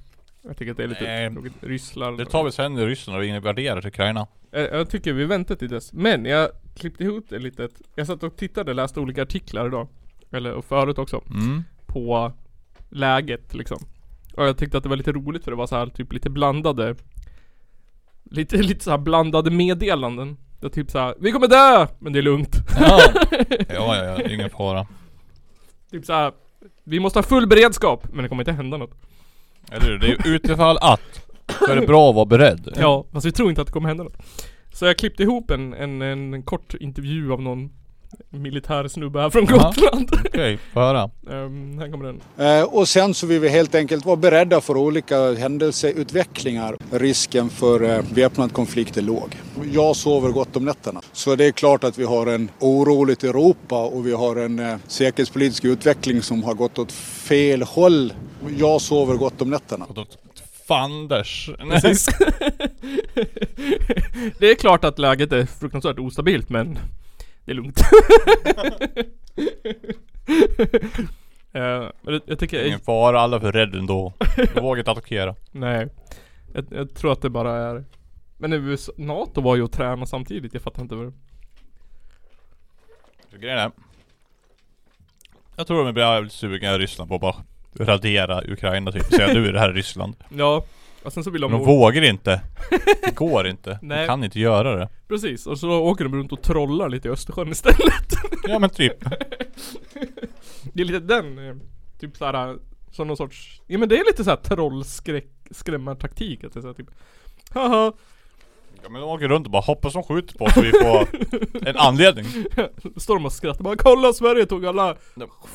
jag tycker att det är lite
Nej.
tråkigt. Ryssland.
Det tar vi sen i Ryssland och invaderar Ukraina.
Eh, Jag tycker vi väntar till dess. Men jag klippte ihop det lite. Jag satt och tittade och läste olika artiklar idag. Eller och förut också. (laughs)
Mm.
På läget liksom. Och jag tyckte att det var lite roligt för det var så här typ lite blandade Lite, (laughs) lite så här blandade meddelanden. Det var typ så här, Vi kommer dö! Men det är lugnt.
Ja. ja, ja, ja. Ingen fara.
typ så här, Vi måste ha full beredskap. Men det kommer inte hända något.
Eller hur? Det är ju utifall att. Så är det bra att vara beredd.
Ja, fast vi tror inte att det kommer hända något. Så jag klippte ihop en, en, en kort intervju av någon militär snubbe här från
Ja.
Gotland. (laughs)
Okej, får höra.
Ehm, här kommer den.
Eh, Och sen så vill vi helt enkelt vara beredda för olika händelseutvecklingar. Risken för eh, väpnad konflikt är låg. Jag sover gott om nätterna. Så det är klart att vi har en oroligt Europa och vi har en eh, säkerhetspolitisk utveckling som har gått åt fel håll. Jag sover gott om nätterna.
Fanders.
Precis. det är klart att läget är fruktansvärt ostabilt men det är lugnt. Eh, men det- jag tycker...
Ingen fara, alla är för rädda ändå. Jag vågar inte attackera.
Nej. Jag, jag tror att det bara är... Men USA, NATO var ju och tränade samtidigt, jag fattar inte vad det...
För grejen är Jag tror de blir jävligt sugna i Ryssland på att bara radera Ukraina typ, säga nu är det här Ryssland
Ja, och sen så vill de...
De vågar inte Det går inte,
Nej.
de kan inte göra det
Precis, och så åker de runt och trollar lite i Östersjön istället. (laughs)
Ja men typ.
det är lite den, eh, typ såhär, som någon sorts, ja men det är lite såhär trollskräck, skrämmartaktik. Att det är såhär typ, haha.
Ja men de åker runt och bara hoppas de skjuter på oss så vi får en anledning
Står de och skrattar bara, kolla Sverige tog alla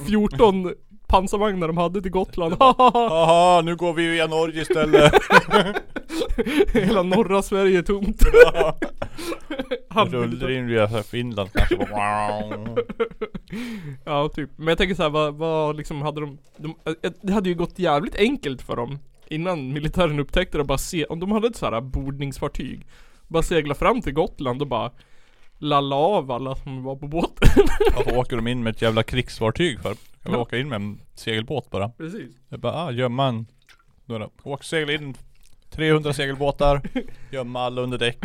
14 pansarvagnar de hade till Gotland, haha.
Haha, nu går vi via Norge istället
(laughs) Hela norra Sverige är tomt. (laughs) Hamnade-
Rullar in via så här Finland kanske bara
Ja, typ. Men jag tänker så här, vad, vad liksom hade de, de... eh, Det hade ju gått jävligt enkelt för dem innan militären upptäckte det och bara se, om de hade ett så här bordningsfartyg. Bara segla fram till Gotland och bara lalla av alla som var på båten. (laughs)
Varför åker de in med ett jävla krigsfartyg för? Kan vi åka in med en segelbåt bara?
Precis.
Det är bara, ah, gömma en... Några, åk segla in 300 segelbåtar Gömma alla under däck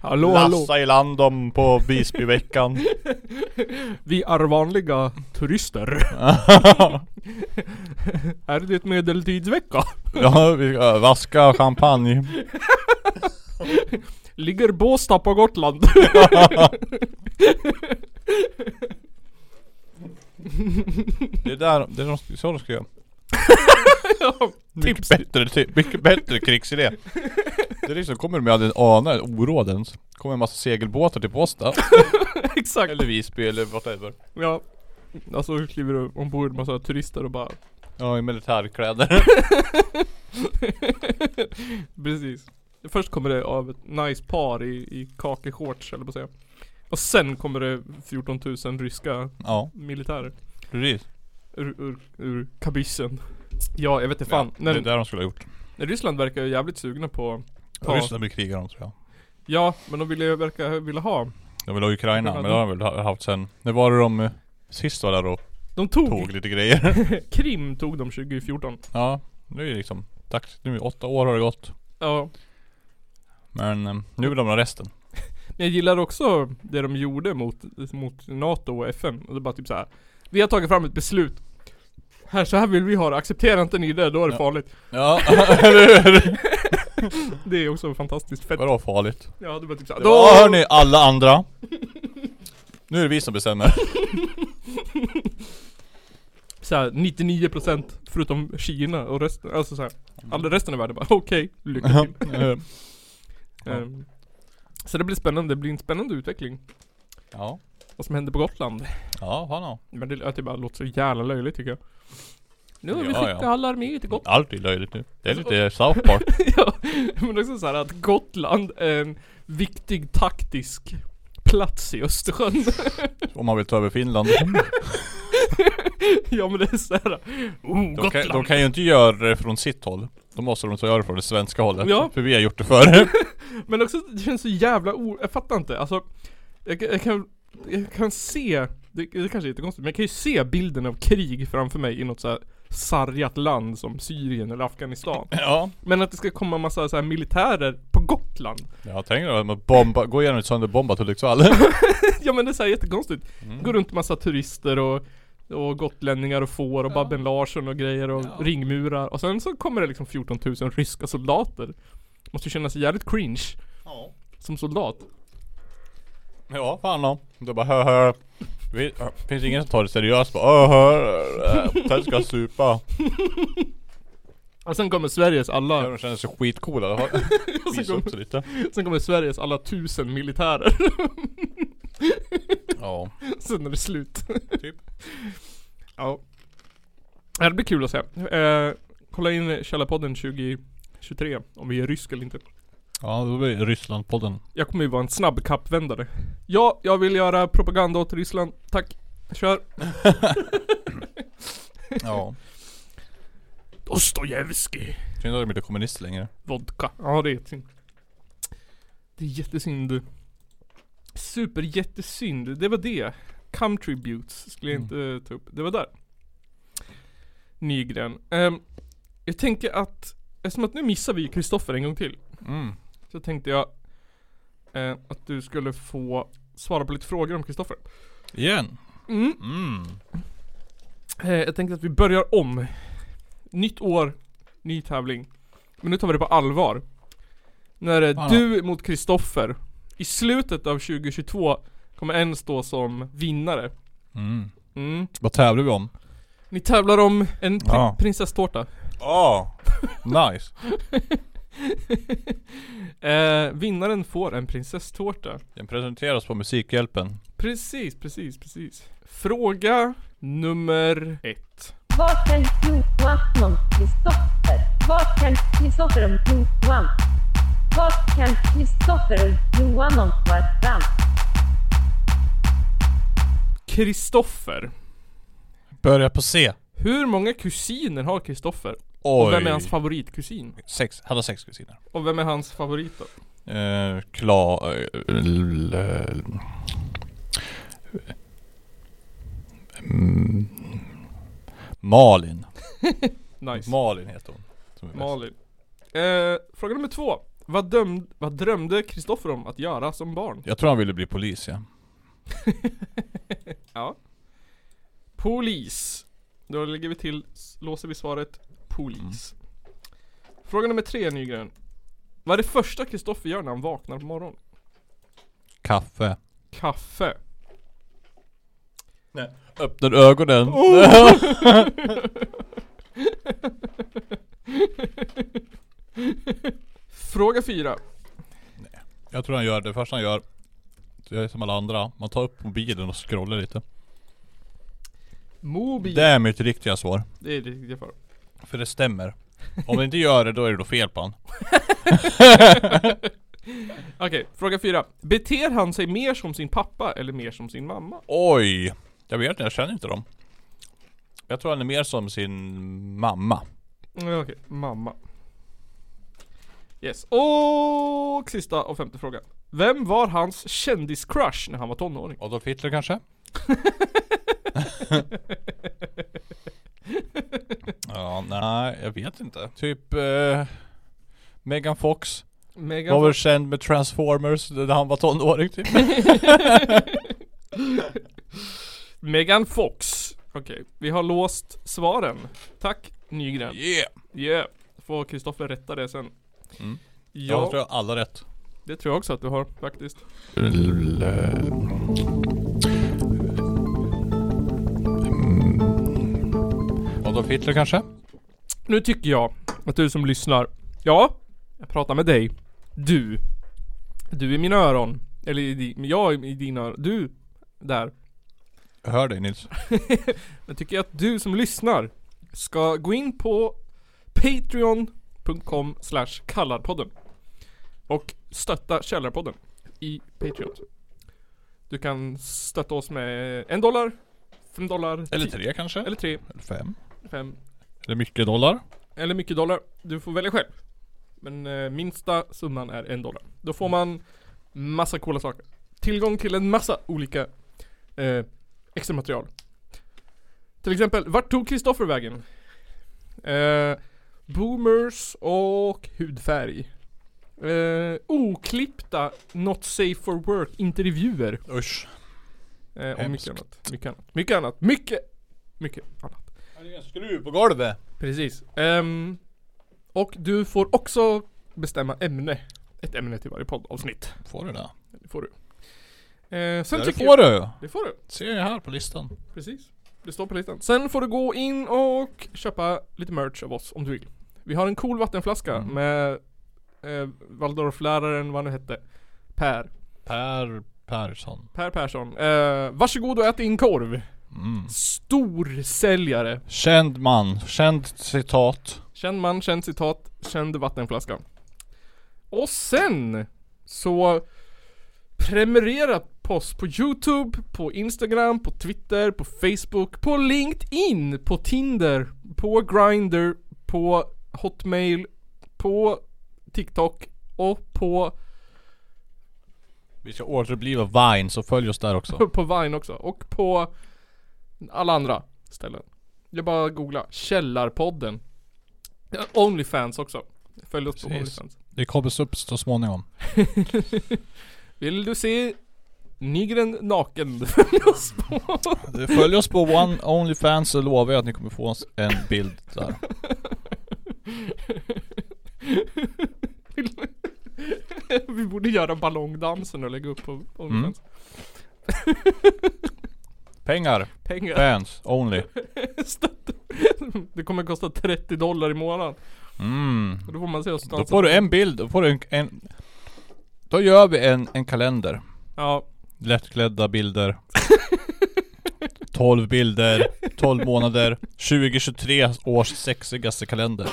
Hallå,
Lassa
hallå.
i land dem på Visbyveckan (laughs)
Vi är vanliga turister. (laughs) är det ett medeltidsvecka?
Ja, vi ska vaska champagne
Ligger Båstad på (laughs) Gotland?
Det är där, det är de, så de ska göra
ja,
Mycket bättre, ty- mycket bättre krigsidé Det är liksom, kommer de med en ana, orådens Kommer en massa segelbåtar till Båstad
Exakt
Eller Visby eller whatever
Ja. Alltså hur kliver du ombord massa turister och bara (laughs)
Ja, i militärkläder
Precis. Först kommer det av ett nice par i, i kakeshorts eller på att säga. Och sen kommer det 14 000 ryska
Ja.
militärer.
Precis.
Ur, ur, ur kabyssen. Ja, jag vet inte fan.
Det är där de skulle ha gjort
men Ryssland verkar ju jävligt sugna på... på
Ryssland blir krigare om tror jag
Ja, men de ville ju verka vilja ha.
De vill ha Ukraina, men det har de väl ha- haft sen När var det de eh, sist var där och
De tog-
lite grejer?
Krim tog de 2014.
ja, nu är det liksom dags. Nu är åtta år har det gått.
Ja.
Men eh, nu vill de ha resten.
Men jag gillar också det de gjorde mot, mot NATO och FN. Och det är bara typ så här. Vi har tagit fram ett beslut. Här, så här vill vi ha det. Accepterar inte ni det, då är det farligt.
Ja, eller hur?
Det är också fantastiskt fett.
(laughs) Vadå farligt?
Ja, det var typ så här,
Det var, "Ah, hörni alla andra. Nu är det vi som bestämmer.
Så här, 99% förutom Kina och resten, alltså så här, all resten av världen bara okej, lycka till.
Mm. Ja.
Ehm, så det blir spännande, det blir en spännande utveckling.
Ja.
Vad som händer på Gotland.
Ja, fan ja.
Men det, att det bara låter så jävla löjligt tycker jag. Nu har vi
Ja,
skickat
ja.
alla arméer till Gotland.
Allt är löjligt nu. Det är lite South Park.
(laughs) ja, men också så här att Gotland är en viktig taktisk plats i Östersjön. (laughs)
Om man vill ta över Finland.
ja men det är så här. Oh,
De kan,
Gotland.
de kan ju inte göra det från sitt håll. Då måste de ta göra det från det svenska hållet.
Ja.
För vi har gjort det förr. (laughs)
Men också, det känns så jävla o... Jag fattar inte. Alltså, jag, jag kan... Jag kan se... Det, det kanske är jättekonstigt, men jag kan ju se bilden av krig framför mig i något så här sargat land som Syrien eller Afghanistan.
Ja.
Men att det ska komma massa så här militärer på Gotland.
Jag tänker att man bomba, gå igenom ett sönderbombat Hudiksvall.
ja men det är så här jättekonstigt.
Mm.
Går runt massa turister och, och gotlänningar och får och Babben Larsson och grejer och ringmurar. Och sen så kommer det liksom 14 000 ryska soldater. Måste ju kännas jävligt cringe. Som soldat.
(laughs) Ja, fan då. Då bara hör hör. Vi- hör. Finns det ingen som tar det seriöst? Bara hör hör. Sen ska jag supa.
Och sen kommer Sveriges alla...
De känner sig skitcoola.
Och sen
Visa upp sig lite.
Sen kommer Sveriges alla tusen militärer. (laughs)
Ja.
Sen är det slut.
Typ.
Ja. Ja, Det blir kul att se. Eh, kolla in Källarpodden 2023 om vi är rysk eller inte.
Ja, då blir det Rysslandpodden.
Jag kommer ju vara en snabb kappvändare. Ja, jag vill göra propaganda åt Ryssland. Tack. Kör.
Ja.
Dostojevskij.
Synd att de inte är kommunister längre.
Vodka. Ja, det är synd. Det är jättesynd. Super jättesynd. Det var det. Contributes skulle jag inte eh, ta upp. Det var där. Nygren. Ehm, jag tänker att, eftersom att nu missar vi Kristoffer en gång till.
Mm.
Så tänkte jag eh, att du skulle få svara på lite frågor om Kristoffer.
Igen?
Mm. Eh, jag tänkte att vi börjar om. Nytt år, ny tävling. Men nu tar vi det på allvar. När det är
Ja.
du mot Kristoffer. I slutet av 2022 kommer en stå som vinnare.
Mm.
Mm.
Vad tävlar vi om?
Ni tävlar om en pri-
Ja.
prinsesstårta.
Ja, nice.
eh, vinnaren får en prinsesstårta.
Den presenteras på Musikhjälpen.
Precis, precis, precis. Fråga nummer ett.
Vad kan Johan om Kristoffer? Vad kan Kristoffer om Johan? Vad kan Kristoffer och Johan om varann?
Kristoffer.
Börja på C.
Hur många kusiner har Kristoffer?
Oj.
Och vem är hans favoritkusin?
Sex, han har sex kusiner.
Och vem är hans favorit då?
Eh, Kla... eh, l- l- Mm. Malin.
Nice.
Malin heter hon. som är bäst.
Malin. Eh, fråga nummer två. Vad, döm- vad drömde Kristoffer om att göra som barn?
Jag tror han ville bli polis ja.
Ja. Polis. Då lägger vi till, s- låser vi svaret polis.
Mm.
Fråga nummer tre Nygren. Vad är det första Kristoffer gör när han vaknar på morgonen?
Kaffe.
Kaffe.
Nej. Öppnar ögonen.
Oh! Fråga fyra.
(laughs) Jag tror han gör det första han gör. så Jag är som alla andra. Man tar upp mobilen och scrollar lite.
Mobil.
Det är mitt riktiga svar.
Det är det riktiga svaret. (laughs)
För det stämmer. Om det inte gör det då är det då fel på han.
Okej, fråga fyra. Beter han sig mer som sin pappa eller mer som sin mamma?
Oj! Jag vet inte, jag känner inte dem. Jag tror han är mer som sin mamma.
Ja, Mm, Okej, mamma. Yes. Och sista och femte frågan. Vem var hans kändiscrush när han var tonåring?
Adolf
(laughs)
Hitler kanske? Ja, nej, jag vet inte. Typ eh, Megan Fox.
Megan
Var väl
Fox.
känd med Transformers när han var tonåring typ.
(laughs) Megan Fox. Okej, vi har låst svaren. Tack Nygren.
(laughs) Yeah!
Yeah. Får Kristoffer rätta det sen.
Mm.
Ja.
Jag tror jag har alla rätt.
Det tror jag också att du har faktiskt.
Mm. Adolf Hitler kanske?
Nu tycker jag att du som lyssnar. Ja, jag pratar med dig. Du. Du i mina öron. Eller i di, jag i dina öron. Du. Där.
Jag hör dig Nils.
Jag tycker att du som lyssnar ska gå in på patreon.com slash kallarpodden. Och stötta Källarpodden i Patreon. Du kan stötta oss med en dollar, fem dollar.
Eller
ti-
tre kanske?
Eller tre,
Eller Fem.
fem
Är det mycket dollar?
eller mycket dollar. Du får välja själv. Men eh, minsta summan är en dollar. Då får man massa coola saker. Tillgång till en massa olika eh, extra material. Till exempel, vart tog Kristoffer vägen? Eh, boomers och hudfärg. Eh, oklippta Not safe for work intervjuer.
Usch.
Eh, och
Hemskt.
mycket annat. Mycket annat. Mycket annat. Mycket, mycket annat.
Han är en skruv på golvet.
Precis. Ehm, och du får också bestämma ämne. Ett ämne till varje poddavsnitt.
Får du det?
Det får du. Eh, sen
Ja, det
tycker
får
jag,
du.
Det får du.
Ser jag här på listan.
Precis. Det står på listan. Sen får du gå in och köpa lite merch av oss om du vill. Vi har en cool vattenflaska
Mm.
med eh, Waldorfläraren, vad han nu hette, Per.
Per Persson.
Per Persson. Eh, varsågod och ät din korv.
Mm.
Storsäljare.
Känd man. Känd citat.
Känd man, känd citat, känd vattenflaska. Och sen så prenumerera på oss på Youtube, på Instagram, på Twitter, på Facebook, på LinkedIn, på Tinder, på Grindr, på Hotmail, på TikTok och på,
Vi ska återuppliva Vine så följ oss
(laughs)
där också.
på Vine också. Och på alla andra ställen. Jag bara googla Källarpodden. Onlyfans också. Följ oss på
Precis.
Onlyfans.
Det kommer upp så småningom.
Vill du se Nygren naken. (laughs) oss på.
Följ oss på One Onlyfans så lovar jag att ni kommer få oss en bild där.
Vi borde göra ballongdansen och lägga upp på
Mm.
OnlyFans.
Pengar.
Pengar.
Fans. Only.
Stötta. det kommer kosta 30 dollar i månaden.
Mm.
Och Då får man se oss
Då får du en bild. Då får du en... en då gör vi en, en kalender.
Ja.
Lättklädda bilder. 12 bilder. 12 månader. 2023 års sexigaste kalender.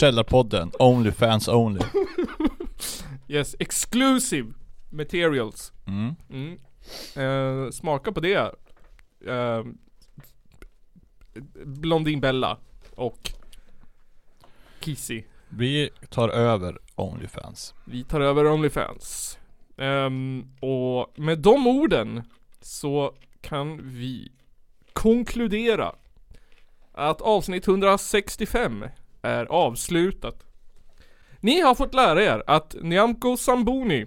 Källarpodden. Onlyfans only.
Yes, exclusive materials.
Mm.
Mm. Eh, smaka på det. Eh, Blondin Bella och Kissy.
Vi tar över Onlyfans.
Vi tar över Onlyfans. Ehm, och med de orden så kan vi konkludera att avsnitt 165 är avslutat. Ni har fått lära er att Nyamko Samboni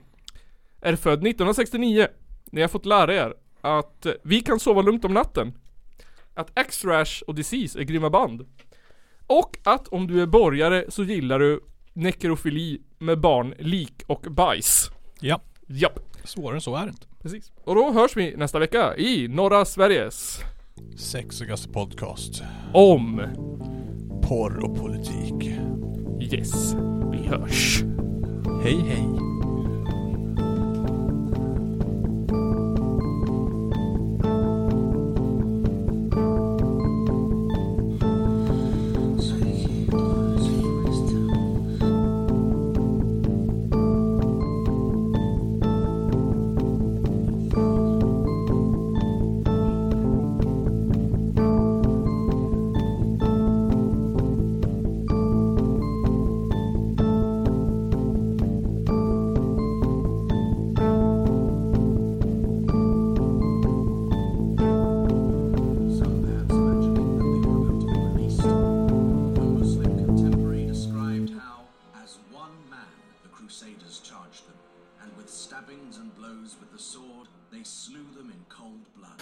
är född 1969. Ni har fått lära er att vi kan sova lugnt om natten. Att X-Rash och Disease är grymma band. Och att om du är borgare så gillar du nekrofili med barn, lik och bajs.
Ja.
Japp.
Svårare än så är det inte.
Precis. Och då hörs vi nästa vecka i norra Sveriges
Sexigaste podcast.
om
Porr och politik.
Yes. Vi hörs.
Hej hej.
A Muslim contemporary described how, as one man, the Crusaders charged them, and with stabbings and blows with the sword, they slew them in cold blood.